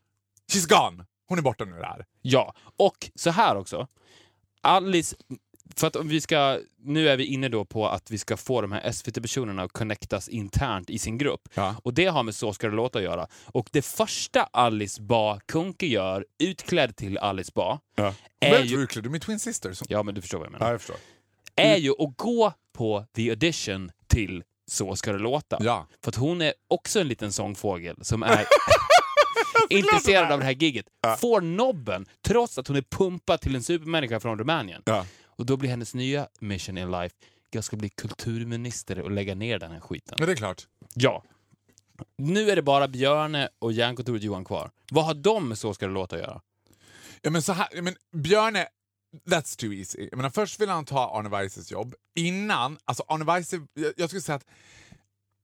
S1: She's gone! Hon är borta nu där.
S2: Ja, och så här också. Alice För att om vi ska, nu är vi inne då på att vi ska få de här SVT-personerna att connectas internt i sin grupp.
S1: Ja.
S2: Och det har med Så ska det låta att göra. Och det första Alice Bah Kuhnke gör, utklädd till Alice Bah,
S1: Ja.
S2: är
S1: Väldigt
S2: ju-
S1: utklädd. Du är min twin sister. Som...
S2: ja men du förstår vad jag menar,
S1: Ja, jag förstår.
S2: är ju att gå på The Audition till Så ska det låta.
S1: Ja.
S2: För att hon är också en liten sångfågel som är intresserad av det här gigget. Får nobben trots att hon är pumpad till en supermänniska från Rumänien.
S1: Ja.
S2: Och då blir hennes nya mission in life, jag ska bli kulturminister och lägga ner den här skiten.
S1: ja, det är klart.
S2: Ja. Nu är det bara Björne och Hjärnkontoret Johan kvar. Vad har de med Så ska det låta att göra?
S1: Ja, men så här, ja, men Björne, that's too easy. Jag menar, först ville han ta Arne Weises jobb. Innan, alltså Arne Weise, jag, jag skulle säga att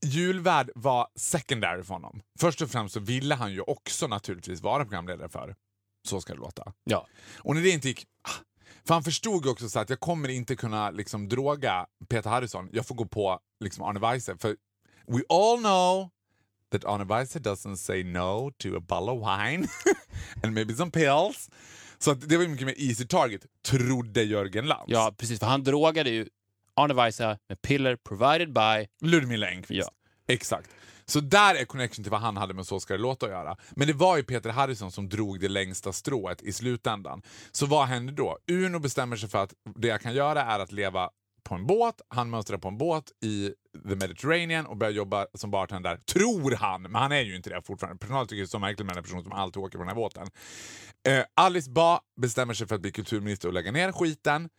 S1: Julvärd var secondary för honom. Först och främst så ville han ju också naturligtvis vara programledare för Så ska det låta.
S2: Ja.
S1: Och när det inte gick... ah, För han förstod ju också så här att jag kommer inte kunna liksom droga Peter Harrison. Jag får gå på liksom Arne Weise. För we all know that Arne Weise doesn't say no to a bottle of wine and maybe some pills. Så att det var ju mycket mer easy target, trodde Jörgen Lantz.
S2: Ja, precis. För han drogade ju Arne Weise med piller provided by...
S1: Ludmilla Engqvist.
S2: Ja.
S1: Exakt. Så där är connection till vad han hade med Så ska det låta att göra. Men det var ju Peter Harrison som drog det längsta strået i slutändan. Så vad hände då? Uno bestämmer sig för att det jag kan göra är att leva på en båt. Han mönstrar på en båt i the Mediterranean och börjar jobba som bartender där. Tror han, men han är ju inte det fortfarande. Personal tycker det är så märkligt med den här personen som alltid åker på den här båten. Eh, Alice Ba bestämmer sig för att bli kulturminister och lägga ner skiten.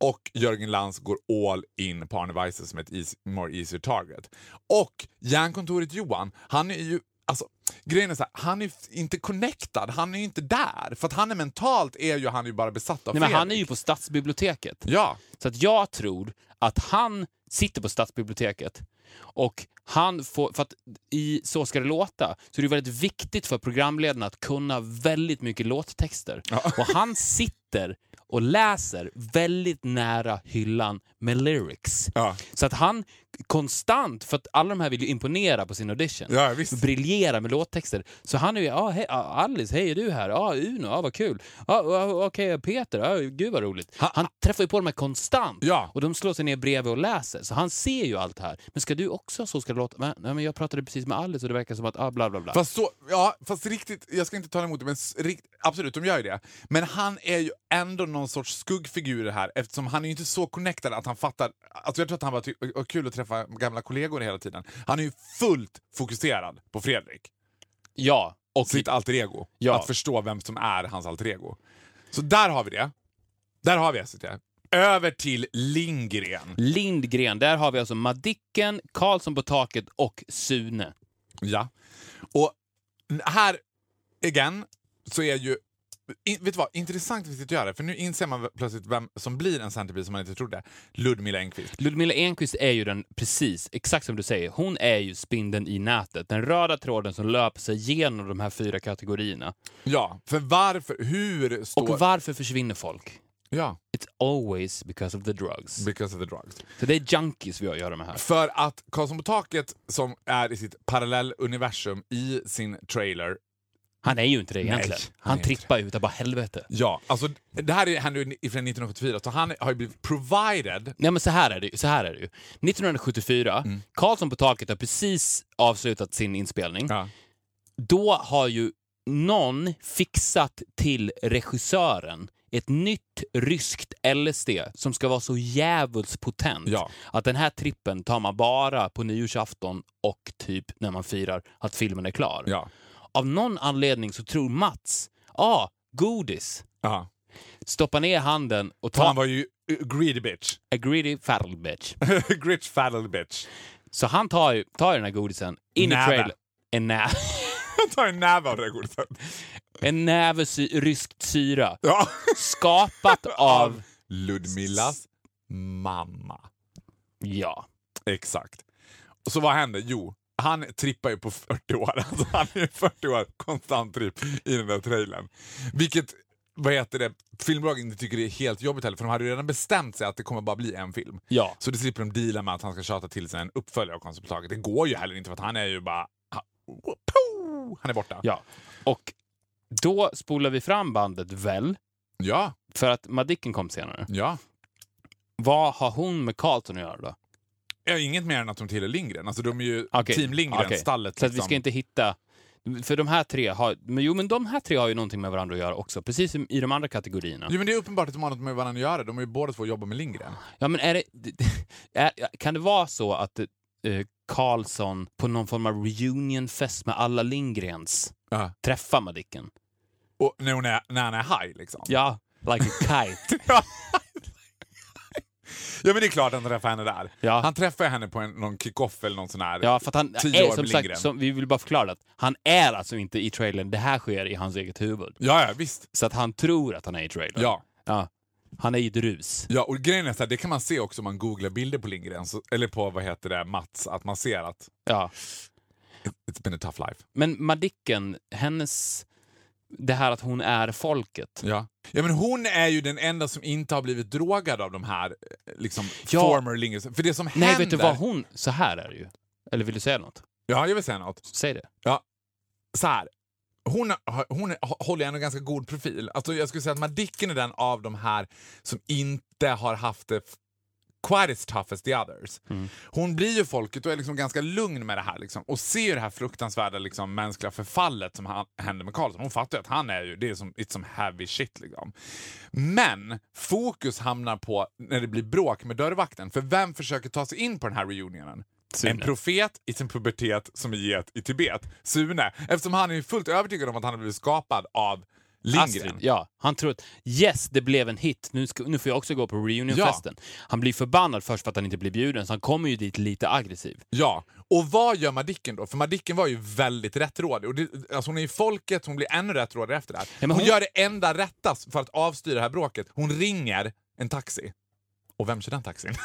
S1: Och Jörgen Lands går all in på Arne Weise som ett easy, more easier target. Och Järnkontoret Johan, han är ju... Alltså, grejen är så här, han är f- inte connectad, han är ju inte där. För att han är mentalt är ju han ju bara besatt av
S2: Nej, men han är
S1: Fredrik.
S2: ju på stadsbiblioteket.
S1: Ja,
S2: Så att jag tror att han sitter på stadsbiblioteket och han får, för att i Så ska det låta så är det väldigt viktigt för programledarna att kunna väldigt mycket låttexter. Och han sitter och läser väldigt nära hyllan med lyrics.
S1: Ja.
S2: Så att han konstant, för att alla de här vill ju imponera på sin audition,
S1: ja visst.
S2: briljera med låttexter. Så han är ju, ah, hej, ah, Alice, hej är du här? Ja, ah, Uno, ah, vad kul. Ah, ah, Okej, Peter, ah, gud vad roligt. Han, träffar ju på dem här konstant.
S1: Ja.
S2: Och de slår sig ner bredvid och läser. Så han ser ju allt det här. Men ska du också ha så ska det låta? Men, nej, men jag pratade precis med Alice och det verkar som att ah, bla bla bla.
S1: Fast så, ja, fast riktigt, jag ska inte tala emot det, men s- rikt, absolut, de gör ju det. Men han är ju ändå någon sorts skuggfigur i det här eftersom han är ju inte så connectad att han fattar. Alltså jag tror att han bara tycker det är kul att träffa gamla kollegor hela tiden. Han är ju fullt fokuserad på Fredrik,
S2: ja. Och,
S1: sitt alter ego.
S2: Ja.
S1: Att förstå vem som är hans alter ego. Så där har vi det. Där har vi SVT. Över till Lindgren.
S2: Lindgren, där har vi alltså Madicken, Karlsson på taket och Sune.
S1: Ja. Och n- här, igen, så är ju... In, vet du vad? Intressant att göra för nu inser man v- plötsligt vem som blir en centerpiece som man inte trodde. Ludmilla Engqvist.
S2: Ludmilla Enquist är ju den, precis, exakt som du säger, hon är ju spindeln i nätet. Den röda tråden som löper sig genom de här fyra kategorierna.
S1: Ja, för varför, hur
S2: Och
S1: står...
S2: varför försvinner folk?
S1: ja,
S2: It's always because of the drugs.
S1: because of the drugs.
S2: Så det är junkies vi har att göra med här.
S1: För att Karlsson på taket, som är i sitt parallelluniversum i sin trailer,
S2: Han är ju inte det egentligen.
S1: Nej, han
S2: han
S1: är
S2: trippar ju utav bara helvete.
S1: ja, alltså det här är, händer ju ni- från 1974, så han har ju blivit provided
S2: Nej men så här är det ju. Så här är det ju. 1974,
S1: Mm.
S2: Karlsson på taket har precis avslutat sin inspelning.
S1: ja.
S2: Då har ju någon fixat till regissören ett nytt ryskt LSD som ska vara så djävulskt potent
S1: Ja.
S2: att den här trippen tar man bara på nyårsafton och typ när man firar att filmen är klar.
S1: Ja.
S2: Av någon anledning så tror Mats, ja, ah, godis.
S1: ja.
S2: Stoppa ner handen och
S1: För
S2: ta
S1: han var ju eh, greedy bitch.
S2: a greedy fat bitch.
S1: Gritch faddle bitch.
S2: Så han tar ju, tar ju den här godisen in
S1: Näve.
S2: i trailern. En, nä
S1: Jag tar en näve av det här godiset.
S2: en näve sy- ryskt syra.
S1: Ja.
S2: Skapat av...
S1: Ludmillas mamma.
S2: Ja.
S1: Exakt. Och så vad hände? Jo, han trippar ju på 40 år. Alltså, han är ju 40 år, konstant tripp i den där trailern. Vilket vad heter det, filmbolagen inte tycker det är helt jobbigt heller, för de hade ju redan bestämt sig att det kommer bara bli en film.
S2: Ja.
S1: Så det slipper de deala med att han ska tjata till sig en uppföljare av Konst på taket. Det går ju heller inte för att han är ju bara... Han, Woho! han är borta.
S2: Ja. Och då spolar vi fram bandet väl?
S1: ja.
S2: För att Madicken kom senare.
S1: ja.
S2: Vad har hon med Carlton att göra då?
S1: Ja, inget mer än att de tillhör Lindgren. Alltså de är ju
S2: Okej.
S1: team Lindgren,
S2: Okej.
S1: stallet.
S2: Så att vi
S1: liksom.
S2: ska inte hitta... För de här tre har... Men jo, men de här tre har ju någonting med varandra att göra också, precis som i de andra kategorierna.
S1: Jo men det är uppenbart att de har något med varandra att göra. De är ju båda två jobbar med Lindgren.
S2: Ja, men är det... Är, kan det vara så att eh, Karlsson på någon form av reunionfest med alla Lindgrens
S1: Ja.
S2: träffar Madicken?
S1: Och när, hon är, när han är high liksom.
S2: Ja, like a kite.
S1: Ja men det är klart att han träffar henne där.
S2: Ja.
S1: Han träffar henne på en, någon kick-off eller någon sån här.
S2: Ja, för att han
S1: Tio år
S2: är, som
S1: med Lindgren.
S2: sagt, som, vi vill bara förklara att han är alltså inte i trailern. Det här sker i hans eget huvud.
S1: ja, ja visst.
S2: Så att han tror att han är i trailern.
S1: Ja.
S2: Ja. Han är i ett rus.
S1: Ja, och grejen är så här, det kan man se också om man googlar bilder på Lindgren, så, eller på vad heter det, Mats, att man ser att
S2: Ja.
S1: it's been a tough life.
S2: Men Madicken, hennes... Det här att hon är folket.
S1: Ja. ja, men hon är ju den enda som inte har blivit drogad av de här eh, liksom,
S2: Ja.
S1: former Lindgren. För det som
S2: Nej,
S1: händer...
S2: vet du vad? Hon... Så här är det ju. Eller vill du säga något?
S1: Ja, jag vill säga något.
S2: Säg det.
S1: så här. Hon, har- hon har- håller ändå ganska god profil. Alltså jag skulle säga att Madicken är den av de här som inte har haft det f- quite as tough as the others.
S2: Mm.
S1: Hon blir ju folket och är liksom ganska lugn med det här liksom, och ser ju det här fruktansvärda liksom, mänskliga förfallet som han, händer med Karlsson. Hon fattar ju att han är ju, det är som, it's some heavy shit. Liksom. Men fokus hamnar på när det blir bråk med dörrvakten. För vem försöker ta sig in på den här reunionen? En profet i sin pubertet som är get i Tibet, Sune. Eftersom han är fullt övertygad om att han har blivit skapad av Lindgren.
S2: Astrid, ja. Han tror att yes, det blev en hit. Nu, ska, nu får jag också gå på reunionfesten. Han blir förbannad först för att han inte blir bjuden, så han kommer ju dit lite aggressiv.
S1: Ja, och vad gör Madicken då? För Madicken var ju väldigt rättrådig. Och det, alltså hon är i folket, hon blir ännu rättrådig efter det här.
S2: men
S1: hon,
S2: hon-
S1: gör det enda rätta för att avstyra det här bråket. Hon ringer en taxi. Och vem kör den taxin?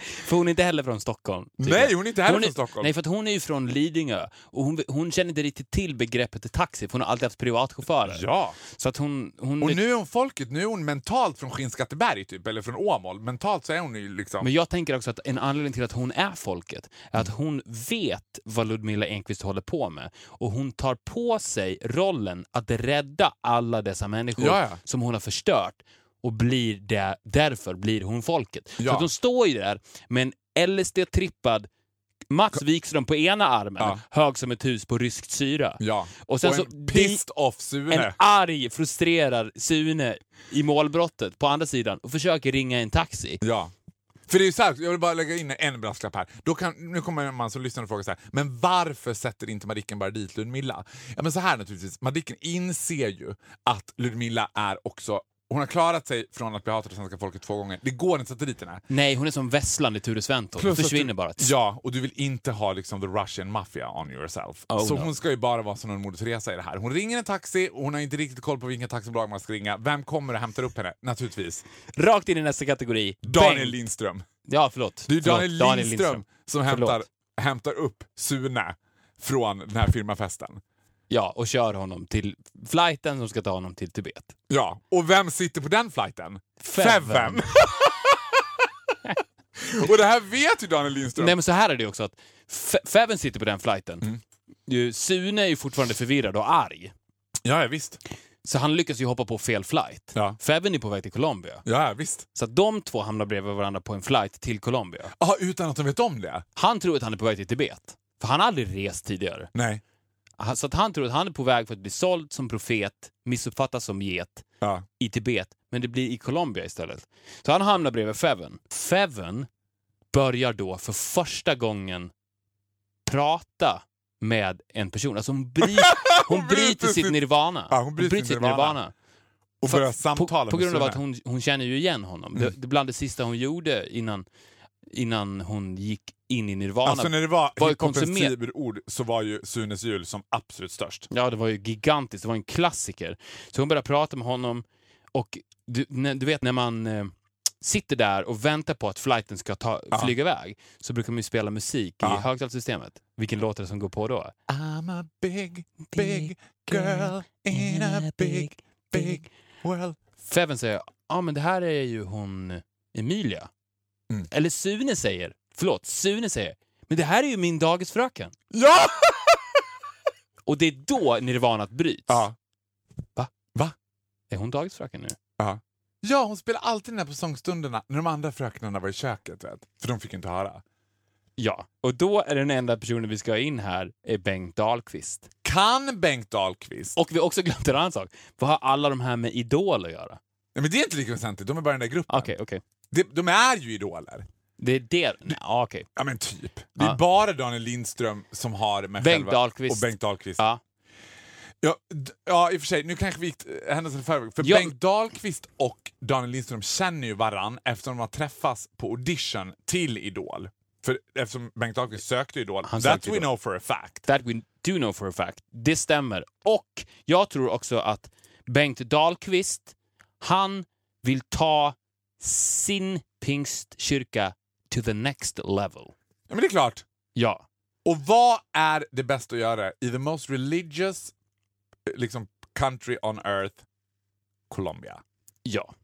S2: För hon är inte heller från Stockholm. tycker
S1: Nej,
S2: jag.
S1: hon är inte heller
S2: Hon är-
S1: från Stockholm.
S2: Nej, för att hon är ju från Lidingö och hon, hon känner inte riktigt till begreppet taxi, för hon har alltid haft privatchaufförer.
S1: Ja.
S2: Så att hon... hon
S1: Och nu är hon folket, nu är hon mentalt från Skinnskatteberg typ, eller från Åmål. Mentalt så är hon ju liksom...
S2: Men jag tänker också att en anledning till att hon är folket är att hon vet vad Ludmilla Enqvist håller på med och hon tar på sig rollen att rädda alla dessa människor
S1: Ja, ja.
S2: som hon har förstört och blir det, därför blir hon folket.
S1: Ja.
S2: Så att hon står ju där med en LSD-trippad Mats Wikström på ena armen,
S1: Ja.
S2: hög som ett hus på ryskt syra.
S1: Ja.
S2: Och sen
S1: och en
S2: så...
S1: pissed off Sune.
S2: En arg, frustrerad Sune i målbrottet på andra sidan och försöker ringa en taxi.
S1: Ja. För det är ju så här, jag vill bara lägga in en brasklapp här. Då kan, nu kommer man som lyssnar och frågar så här, men varför sätter inte Madicken bara dit Ludmilla? Ja men så här naturligtvis, Madicken inser ju att Ludmilla är också, hon har klarat sig från att bli hatad av svenska folket två gånger. Det går inte att sätta dit den här.
S2: Nej, hon är som Vesslan i Ture Sventon. Hon
S1: Plus att
S2: försvinner
S1: du,
S2: bara.
S1: Ja, och du vill inte ha liksom the Russian mafia on yourself.
S2: Oh,
S1: så
S2: no.
S1: hon ska ju bara vara som en Moder Teresa i det här. Hon ringer en taxi och hon har inte riktigt koll på vilken taxibolag man ska ringa. Vem kommer och hämtar upp henne? Naturligtvis.
S2: Rakt in i nästa kategori.
S1: Daniel
S2: Bengt.
S1: Lindström.
S2: Ja, förlåt.
S1: Det är ju
S2: förlåt.
S1: Daniel, Lindström, som
S2: Förlåt.
S1: hämtar, hämtar upp Sune från den här firmafesten.
S2: Ja, och kör honom till flighten som ska ta honom till Tibet.
S1: Ja, och vem sitter på den flighten?
S2: Feven.
S1: och det här vet ju Daniel Lindström.
S2: Nej, men så här är det också att Fe- Feven sitter på den flighten.
S1: Mm.
S2: Ju- Sune är ju fortfarande förvirrad och arg.
S1: Ja, ja, visst.
S2: Så han lyckas ju hoppa på fel flight.
S1: Ja.
S2: Feven är på väg till Colombia.
S1: Ja, ja, visst.
S2: Så att de två hamnar bredvid varandra på en flight till Colombia.
S1: Ja, utan att de vet om det?
S2: Han tror att han är på väg till Tibet. För han har aldrig rest tidigare.
S1: Nej.
S2: Han- Så att han tror att han är på väg för att bli såld som profet, missuppfattas som get
S1: Ja.
S2: i Tibet, men det blir i Colombia istället. Så han hamnar bredvid Feven. Feven börjar då för första gången prata med en person. Alltså hon, bry- hon,
S1: Hon bryter
S2: bryter sitt
S1: sitt-
S2: nirvana.
S1: Ja, hon bryter sitt nirvana. Och
S2: För-
S1: börjar
S2: På,
S1: samtala
S2: på
S1: med Mm.
S2: grund av
S1: Sune.
S2: att hon, hon känner ju igen honom. Det, det är bland det sista hon gjorde innan, innan hon gick in i nirvana.
S1: Alltså när det var
S2: var ju
S1: hiphopens
S2: konsumer-
S1: tiberord så var ju Sunes jul som absolut störst.
S2: Ja, det var ju gigantiskt. Det var en klassiker. Så hon började prata med honom och du, när, du vet när man eh, sitter där och väntar på att flighten ska ta,
S1: Ja.
S2: flyga iväg så brukar man ju spela musik
S1: Ja.
S2: i högtalarsystemet. Vilken låt är det som går på då?
S1: I'm a big, big girl in a big, big world.
S2: Feven säger, ja men det här är ju hon Emilia.
S1: Mm.
S2: Eller Sune säger, förlåt, Sune säger, men det här är ju min dagisfröken.
S1: Ja!
S2: Och det är då nirvanat bryts.
S1: ja!
S2: Är hon dagisfröken nu?
S1: Ja. Ja, hon spelar alltid den här på sångstunderna när de andra fröknarna var i köket. Vet. För de fick ju inte höra.
S2: Ja, och då är den enda personen vi ska ha in här är Bengt Dahlqvist.
S1: Kan Bengt Dahlqvist?
S2: Och vi har också glömt en annan sak. Vad har alla de här med Idol att göra?
S1: Nej, men det är inte lika väsentligt, de är bara den där gruppen.
S2: Okej, okej.
S1: De, de är ju idoler.
S2: Det är det? Nej, ja, okej.
S1: Ja men typ. Det är
S2: Ja.
S1: bara Daniel Lindström som har med
S2: Bengt
S1: själva...
S2: Dahlqvist.
S1: Och Bengt Dahlqvist.
S2: Ja.
S1: Ja, d- ja, i och för sig, nu kanske vi gick eh, händelsen i förväg. För
S2: Ja.
S1: Bengt Dahlqvist och Daniel Lindström känner ju varann eftersom de har träffats på audition till Idol. För eftersom Bengt Dahlqvist sökte Idol.
S2: Han
S1: That
S2: sökte
S1: we
S2: Idol.
S1: know for a fact.
S2: That we do know for a fact. Det stämmer. Och jag tror också att Bengt Dahlqvist, han vill ta sin pingstkyrka to the next level.
S1: Ja, men det är klart.
S2: Ja.
S1: Och vad är det bästa att göra i the most religious eh, liksom, country on earth, Colombia?
S2: Ja.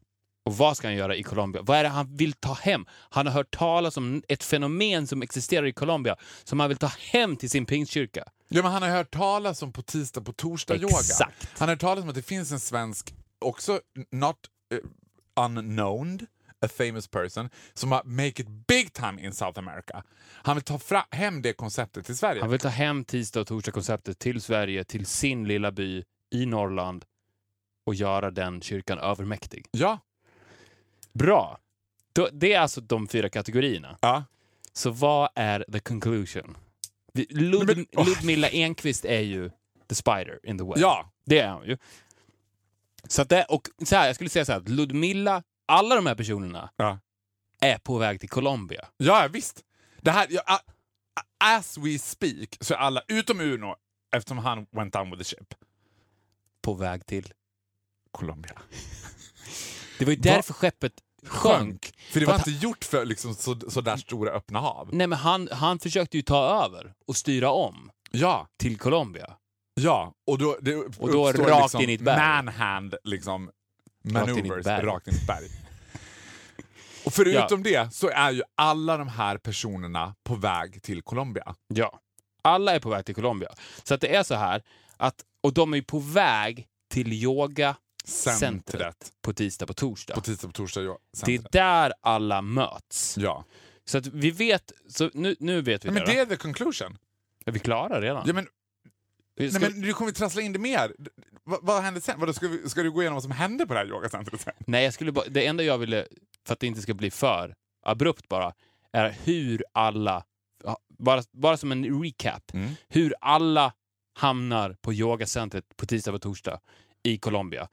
S2: Och vad ska han göra i Colombia? Vad är det han vill ta hem? Han har hört talas om ett fenomen som existerar i Colombia som han vill ta hem till sin pingstkyrka.
S1: Ja, men han har hört talas om på tisdag, på torsdag yoga.
S2: Exakt.
S1: Han har hört talas om att det finns en svensk, också not eh, unknown, a famous person, som har make it big time in South America. Han vill ta fra- hem det konceptet till Sverige.
S2: Han vill ta hem tisdag och torsdag-konceptet till Sverige, till sin lilla by i Norrland och göra den kyrkan övermäktig.
S1: Ja.
S2: Bra! Då, det är alltså de fyra kategorierna.
S1: ja.
S2: Så vad är the conclusion? Vi- Lud,
S1: Nej, men- åh.
S2: Ludmilla Enquist är ju the spider in the web.
S1: Ja.
S2: Det är hon ju. Så att det, och så här, jag skulle säga så här, att Ludmilla, alla de här personerna
S1: Ja.
S2: är på väg till Colombia.
S1: Ja, ja, visst. Det här, ja, a- a- as we speak så är alla, utom Uno, eftersom han went down with the ship,
S2: På väg till...
S1: Colombia.
S2: Det var ju
S1: Va-
S2: därför skeppet sjönk.
S1: För det
S2: För
S1: var
S2: att
S1: inte gjort för liksom, så, så där stora öppna hav.
S2: Nej, men han, han försökte ju ta över och styra om
S1: Ja,
S2: till Colombia.
S1: ja. Och då, det
S2: Och då
S1: uppstår
S2: rakt
S1: liksom
S2: in i ett berg.
S1: manhand liksom,
S2: in i ett
S1: maneuvers
S2: berg.
S1: rakt in i ett berg. Och förutom det så är ju alla de här personerna på väg till Colombia.
S2: Ja. Alla är på väg till Colombia. Så att det är så här att, och de är ju på väg till yoga
S1: Centret,
S2: Centret. på tisdag, på torsdag.
S1: på tisdag på torsdag. Ja,
S2: det är
S1: centret.
S2: där alla möts.
S1: ja.
S2: Så att vi vet, så nu, nu vet vi
S1: Ja, men
S2: det.
S1: det är the conclusion.
S2: Är vi klara redan?
S1: Ja, men
S2: Vi ska-
S1: Nej, men nu kommer vi trassla in det mer. D- d- Vad, vad händer sen? Vadå, ska, vi, ska du gå igenom vad som hände på det här yogacentret sen?
S2: Nej, jag skulle bara, det enda jag ville, för att det inte ska bli för abrupt bara, är hur alla, ja, bara, bara som en recap,
S1: Mm.
S2: hur alla hamnar på yogacentret på tisdag och torsdag i Colombia.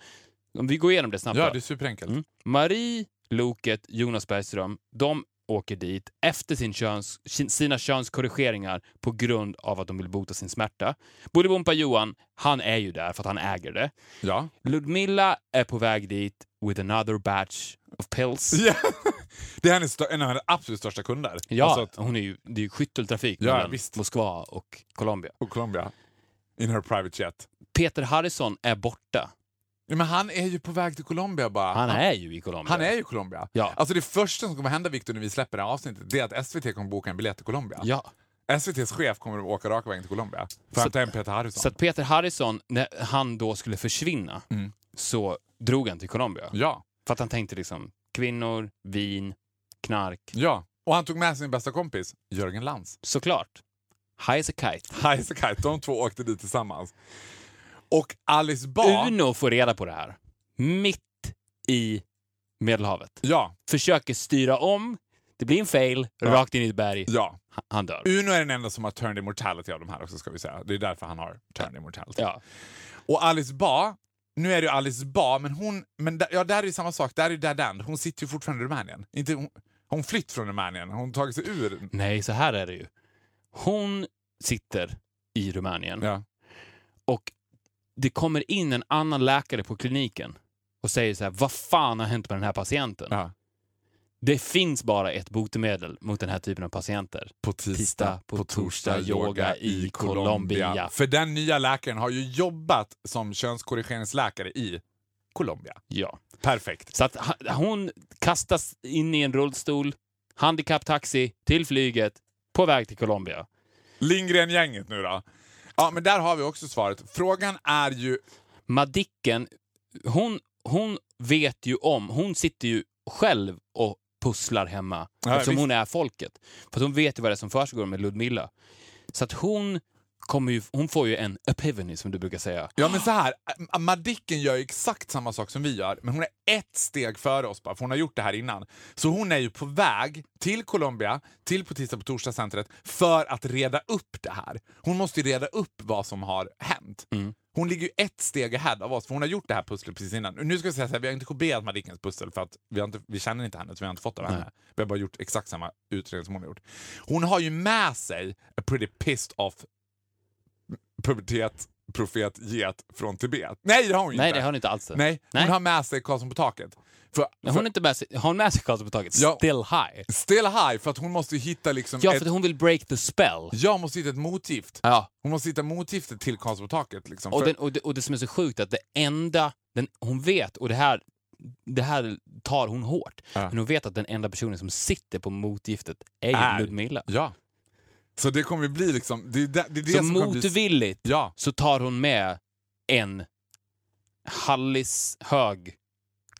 S2: Om vi går igenom det snabbt
S1: Ja,
S2: bara.
S1: det är superenkelt.
S2: Mm. Marie, Loket, Jonas Bergström, de åker dit efter sin köns, sina könskorrigeringar på grund av att de vill bota sin smärta. Bolibompa Johan, han är ju där för att han äger det.
S1: Ja.
S2: Ludmilla är på väg dit with another batch of pills.
S1: ja. Det är hennes, stö- en av hennes absolut största kunder.
S2: Ja,
S1: Alltså att-
S2: hon är ju, det är ju skytteltrafik
S1: Ja,
S2: mellan
S1: visst.
S2: Moskva och Colombia.
S1: och Colombia. In her private jet.
S2: Peter Harrison är borta.
S1: Ja, men han är ju på väg till Colombia bara.
S2: Han är ju i Colombia.
S1: han är ju i Colombia.
S2: Ja.
S1: Alltså det första som kommer hända Victor när vi släpper det här avsnittet det är att SVT kommer boka en biljett till Colombia.
S2: Ja.
S1: SVTs chef kommer att åka raka vägen till Colombia för
S2: Så-
S1: att ta hem Peter Harrison.
S2: Så att Peter Harrison, när han då skulle försvinna,
S1: Mm.
S2: så drog han till Colombia.
S1: ja,
S2: För att han tänkte liksom kvinnor, vin, knark.
S1: ja. Och han tog med sin bästa kompis Jörgen Lands.
S2: Såklart. High as a kite.
S1: Heise Kite, de två åkte dit tillsammans. Och Alice Bah...
S2: Uno får reda på det här. Mitt i Medelhavet.
S1: Ja,
S2: Försöker styra om. Det blir en fail.
S1: Ja.
S2: Rakt in i ett berg.
S1: ja.
S2: Han- Han dör.
S1: Uno är den enda som har turned immortality av de här också ska vi säga. Det är därför han har turned immortality.
S2: Ja.
S1: Och Alice Bah, nu är det ju Alice Bah, men hon... Men där, ja, där är ju samma sak. Där är ju Dadand. Hon sitter ju fortfarande i Rumänien. Inte, hon, hon flytt från Rumänien. Hon har tagit sig ur...
S2: Nej, så här är det ju. Hon sitter i Rumänien
S1: Ja.
S2: och det kommer in en annan läkare på kliniken och säger så här, vad fan har hänt med den här patienten?
S1: Ja.
S2: Det finns bara ett botemedel mot den här typen av patienter.
S1: På tisdag,
S2: Tisdag, på torsdag, yoga i Colombia.
S1: För den nya läkaren har ju jobbat som könskorrigeringsläkare i Colombia.
S2: Ja.
S1: Perfekt.
S2: Så att ha- hon kastas in i en rullstol, handikapptaxi, till flyget, på väg till Colombia.
S1: Lindgren-gänget nu då? Ja, men där har vi också svaret. Frågan är ju...
S2: Madicken, hon hon vet ju om, hon sitter ju själv och pusslar hemma
S1: Ja,
S2: eftersom
S1: visst.
S2: hon är folket. För att hon vet ju vad det är som försiggår med Ludmilla. Så att hon, kommer ju, hon får ju en epiphany som du brukar säga.
S1: Ja men så här, M- Madicken gör ju exakt samma sak som vi gör, men hon är ett steg före oss bara, för hon har gjort det här innan. Så hon är ju på väg till Colombia, till på tisdag på torsdag centret för att reda upp det här. Hon måste ju reda upp vad som har hänt.
S2: Mm.
S1: Hon ligger ju ett steg ahead av oss, för hon har gjort det här pusslet precis innan. Nu ska jag säga så här, vi har inte kopierat Madickens pussel, för att vi, har inte, vi känner inte henne, så vi har inte fått av henne.
S2: Nej.
S1: Vi har bara gjort exakt samma utredning som hon har gjort. Hon har ju med sig a pretty pissed off pubertet, profet, get från Tibet. Nej, det har hon ju
S2: Nej,
S1: inte.
S2: det har hon inte alls. det.
S1: Nej, hon
S2: Nej.
S1: har med sig Karlsson på taket. För,
S2: Nej,
S1: för,
S2: Hon är inte med sig, har hon med sig Karlsson på taget?
S1: Ja.
S2: Still high.
S1: Still high, för att hon måste ju hitta liksom
S2: Ja,
S1: ett,
S2: för att hon vill break the spell.
S1: jag måste hitta ett motgift.
S2: Ja.
S1: Hon måste hitta motgiftet till Karlsson på taket. Liksom.
S2: Och,
S1: För-
S2: den, och, det, och det som är så sjukt är att det enda den, hon vet, och det här, det här tar hon hårt,
S1: Ja.
S2: men hon vet att den enda personen som sitter på motgiftet är,
S1: Är.
S2: ju Ludmilla.
S1: Ja. Så det kommer ju bli liksom... Det, är det, det är det
S2: Så
S1: som kommer bli...
S2: motvilligt
S1: Ja.
S2: så tar hon med en Hallis hög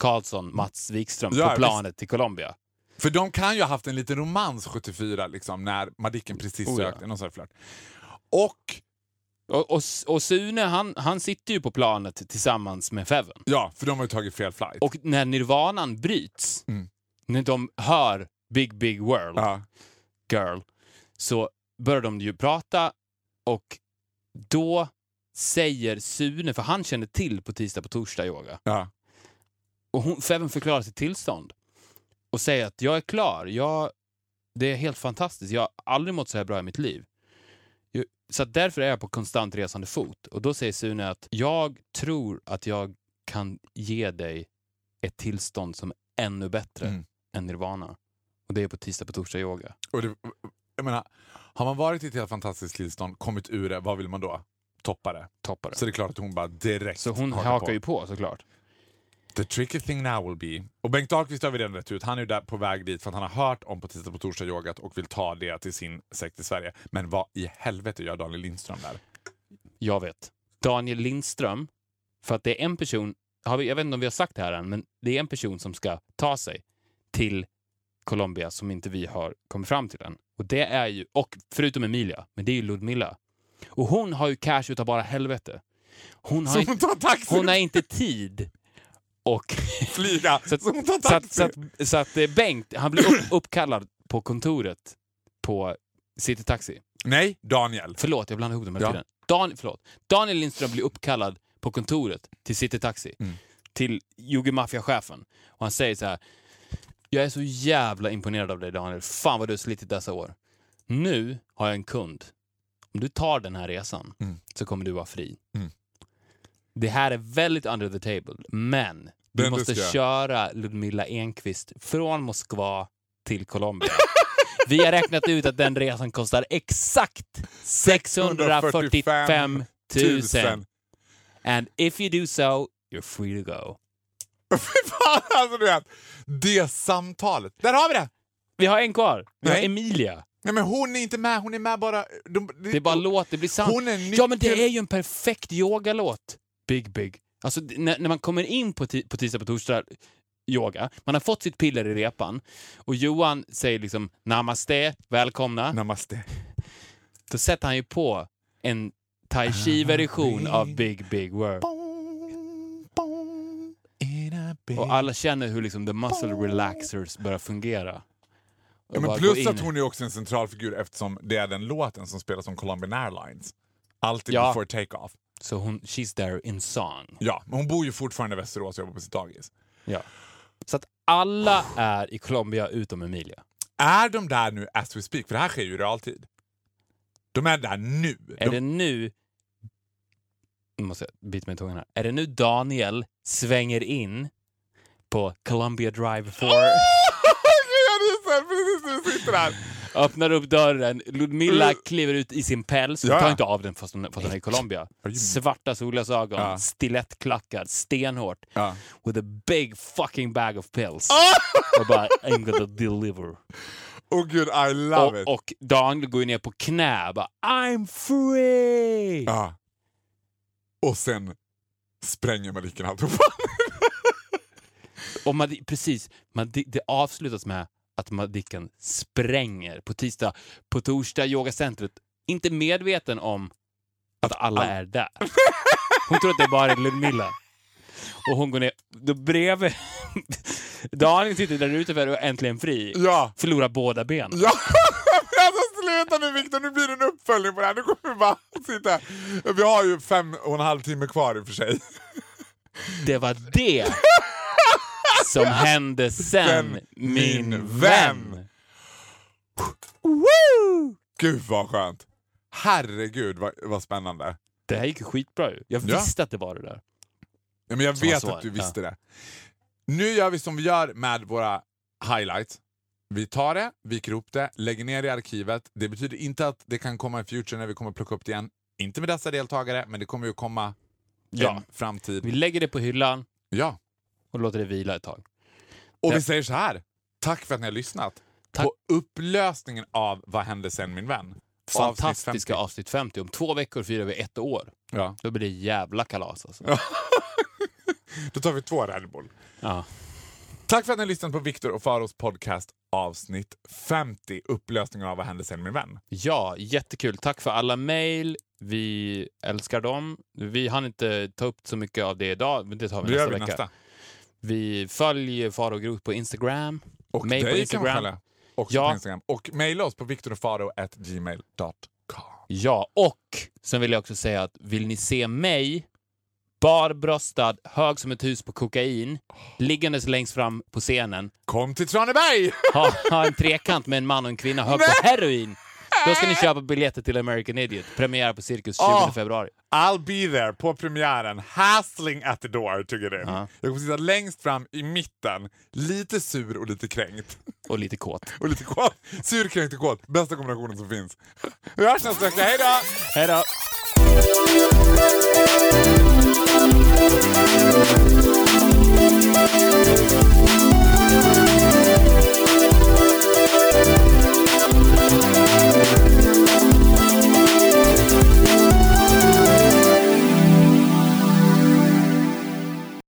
S2: Karlsson, Mats Wikström,
S1: Ja,
S2: på
S1: visst.
S2: planet till Colombia.
S1: För de kan ju ha haft en liten romans 74 liksom, när Madicken precis
S2: Oh, ja.
S1: sökte någon sån här flört. Och,
S2: Och, och, och Sune, han, han sitter ju på planet tillsammans med Feven.
S1: ja, för de har ju tagit fel flight.
S2: Och när nirvanan bryts,
S1: Mm.
S2: när de hör Big Big World,
S1: ja.
S2: Girl, så börjar de ju prata och då säger Sune, för han känner till på tisdag på torsdag yoga,
S1: Ja.
S2: och hon, Feven förklarar sitt tillstånd och säger att jag är klar, jag, det är helt fantastiskt, jag har aldrig mått så här bra i mitt liv. Jag- Så att därför är jag på konstant resande fot. Och då säger Sune att jag tror att jag kan ge dig ett tillstånd som är ännu bättre
S1: Mm.
S2: än nirvana. Och det är på tisdag på torsdag yoga.
S1: Och det, jag menar, har man varit i ett helt fantastiskt tillstånd, kommit ur det, vad vill man då? Toppa det.
S2: Toppar det.
S1: Så det är klart att hon bara direkt
S2: Så hon hakar ju på såklart.
S1: The tricky thing now will be... Och Bengt Dahlqvist har vi redan rätt ut. Han är ju där på väg dit för att han har hört om på tisdag på torsdag yogat och vill ta det till sin sekt i Sverige. Men vad i helvete gör Daniel Lindström där?
S2: Jag vet. Daniel Lindström, för att det är en person, har vi, jag vet inte om vi har sagt det här än, men det är en person som ska ta sig till Colombia som inte vi har kommit fram till än. Och det är ju, och förutom Emilia, men det är ju Ludmilla. Och hon har ju cash utav bara helvete. Hon har,
S1: Så hon
S2: inte,
S1: tar taxi
S2: hon
S1: och
S2: har inte tid. Och ah,
S1: flyga!
S2: så att-
S1: Så hon tar
S2: så att,
S1: taxi!
S2: så att, så att eh, Bengt, han blir upp, uppkallad på kontoret på City Taxi.
S1: Nej, Daniel.
S2: Förlåt, jag blandade ihop dem hela
S1: Ja.
S2: tiden. Dan, förlåt. Daniel Lindström blir uppkallad på kontoret till City Taxi,
S1: Mm.
S2: till Yogi Mafia-chefen. Och han säger så här. Jag är så jävla imponerad av dig Daniel. Fan vad du har slitit dessa år. Nu har jag en kund. Om du tar den här resan
S1: Mm.
S2: så kommer du vara fri.
S1: Mm.
S2: Det här är väldigt under the table, men
S1: Det
S2: du
S1: är
S2: måste
S1: det ska.
S2: köra Ludmilla Enqvist från Moskva till Colombia. Vi har räknat ut att den resan kostar exakt 645 000. And if you do so, you're free to go.
S1: Fy fan, alltså du vet. Det samtalet. Där har vi det!
S2: Vi har en kvar. Vi har
S1: Nej.
S2: Emilia.
S1: Nej men hon är inte med, hon är med bara... De,
S2: Det är bara låt, det blir sant.
S1: Hon är
S2: Ja, men det
S1: nyckel-
S2: är ju en perfekt yogalåt. Big, big. Alltså, d- när, när man kommer in på, ti- på tisdag, på torsdag, yoga, man har fått sitt piller i repan och Johan säger liksom namaste, välkomna.
S1: Namaste.
S2: Då sätter han ju på en tai chi-version av Big, big world.
S1: Boom, boom, in a big-
S2: Och alla känner hur liksom the muscle relaxers börjar fungera. Och
S1: ja, men
S2: bara gå
S1: plus
S2: in
S1: att
S2: i-
S1: hon är också en central figur eftersom det är den låten som spelas som Colombian Airlines. Alltid
S2: Ja.
S1: before take-off.
S2: Så hon, she's there in song.
S1: Ja, men hon bor ju fortfarande i Västerås och jobbar på sitt dagis.
S2: Ja. Så att alla är i Colombia utom Emilia.
S1: Är de där nu as we speak? För det här sker ju i realtid. De är där nu.
S2: Är
S1: de,
S2: det nu... Nu måste jag bita mig i tungan här. Är det nu Daniel svänger in på Columbia Drive 4,
S1: Jag visar precis när vi sitter här.
S2: öppnar upp dörren, Ludmilla kliver ut i sin päls,
S1: Mm. Ja.
S2: tar inte av den fast hon, fast hon är i Colombia.
S1: you-
S2: Svarta solglasögon,
S1: Ja.
S2: stilettklackar, stenhårt,
S1: Ja.
S2: with a big fucking bag of pills.
S1: Ah!
S2: Och bara, I'm gonna deliver.
S1: Oh gud, I love it.
S2: Och, och Daniel går ju ner på knä bara, I'm free!
S1: Ja. Och sen spränger Madicken alltihopa.
S2: Och Madi- precis, Madi- det avslutas med att Madicken spränger på tisdag. På torsdag, yogacentret. Inte medveten om att alla är där. Hon tror att det är bara Ludmilla. Och hon går ner, då bredvid... Daniel sitter där ute för att vara äntligen fri.
S1: Ja.
S2: Förlorar båda benen.
S1: Ja! Alltså sluta nu Viktor, nu blir det en uppföljning på det här. Nu kommer vi bara sitta här. Vi har ju fem och en halv timme kvar i och för sig.
S2: Det var det som hände sen,
S1: Sen,
S2: min,
S1: min
S2: vän.
S1: vän. Gud vad skönt! Herregud vad, vad spännande.
S2: Det här gick ju skitbra ju. Jag
S1: Ja.
S2: visste att det var det där.
S1: Ja, men jag
S2: Som
S1: vet
S2: svar,
S1: att du visste det. Nu gör vi som vi gör med våra highlights. Vi tar det, viker ihop det, lägger ner det i arkivet. Det betyder inte att det kan komma i future när vi kommer plocka upp det igen. Inte med dessa deltagare, men det kommer ju komma
S2: Ja.
S1: en framtid.
S2: Ehm, Vi lägger det på hyllan
S1: Ja.
S2: och låter det vila ett tag.
S1: Och vi
S2: Det-
S1: säger så här. Tack för att ni har lyssnat
S2: Tack.
S1: på upplösningen av Vad hände sen min vän? Avsnitt
S2: Fantastiska
S1: 50.
S2: avsnitt 50. Om två veckor firar vi ett år.
S1: Ja.
S2: Då blir det jävla kalas alltså.
S1: Då tar vi två Red Bull.
S2: Ja.
S1: Tack för att ni har lyssnat på Viktor och Faros podcast avsnitt 50. Upplösningen av Vad hände sen min vän?
S2: ja, jättekul. Tack för alla mejl. Vi älskar dem. Vi hann inte ta upp så mycket av det idag, men det tar vi
S1: Det
S2: nästa
S1: gör vi
S2: vecka.
S1: nästa.
S2: Vi följer Faro Groth på Instagram.
S1: Och
S2: Mig på
S1: dig kan man
S2: Instagram.
S1: följa. Också
S2: Ja.
S1: på Instagram. Och mejla oss på viktorofaro.gmail.com.
S2: Ja, och sen vill jag också säga att vill ni se mig barbröstad, hög som ett hus på kokain, liggandes längst fram på scenen,
S1: Kom till Traneberg!
S2: ha, ha en trekant med en man och en kvinna hög på heroin, då ska ni köpa biljetter till American Idiot, premiär på Cirkus 20
S1: Åh.
S2: februari.
S1: I'll be there på premiären. Hassling at the door, tycker du.
S2: Ja.
S1: Jag kommer sitta längst fram i mitten, lite sur och lite kränkt.
S2: Och lite kåt.
S1: Och lite kåt. Sur, kränkt och kåt. Bästa kombinationen som finns. Vi hörs nästa vecka. Hej då!
S2: Hej då!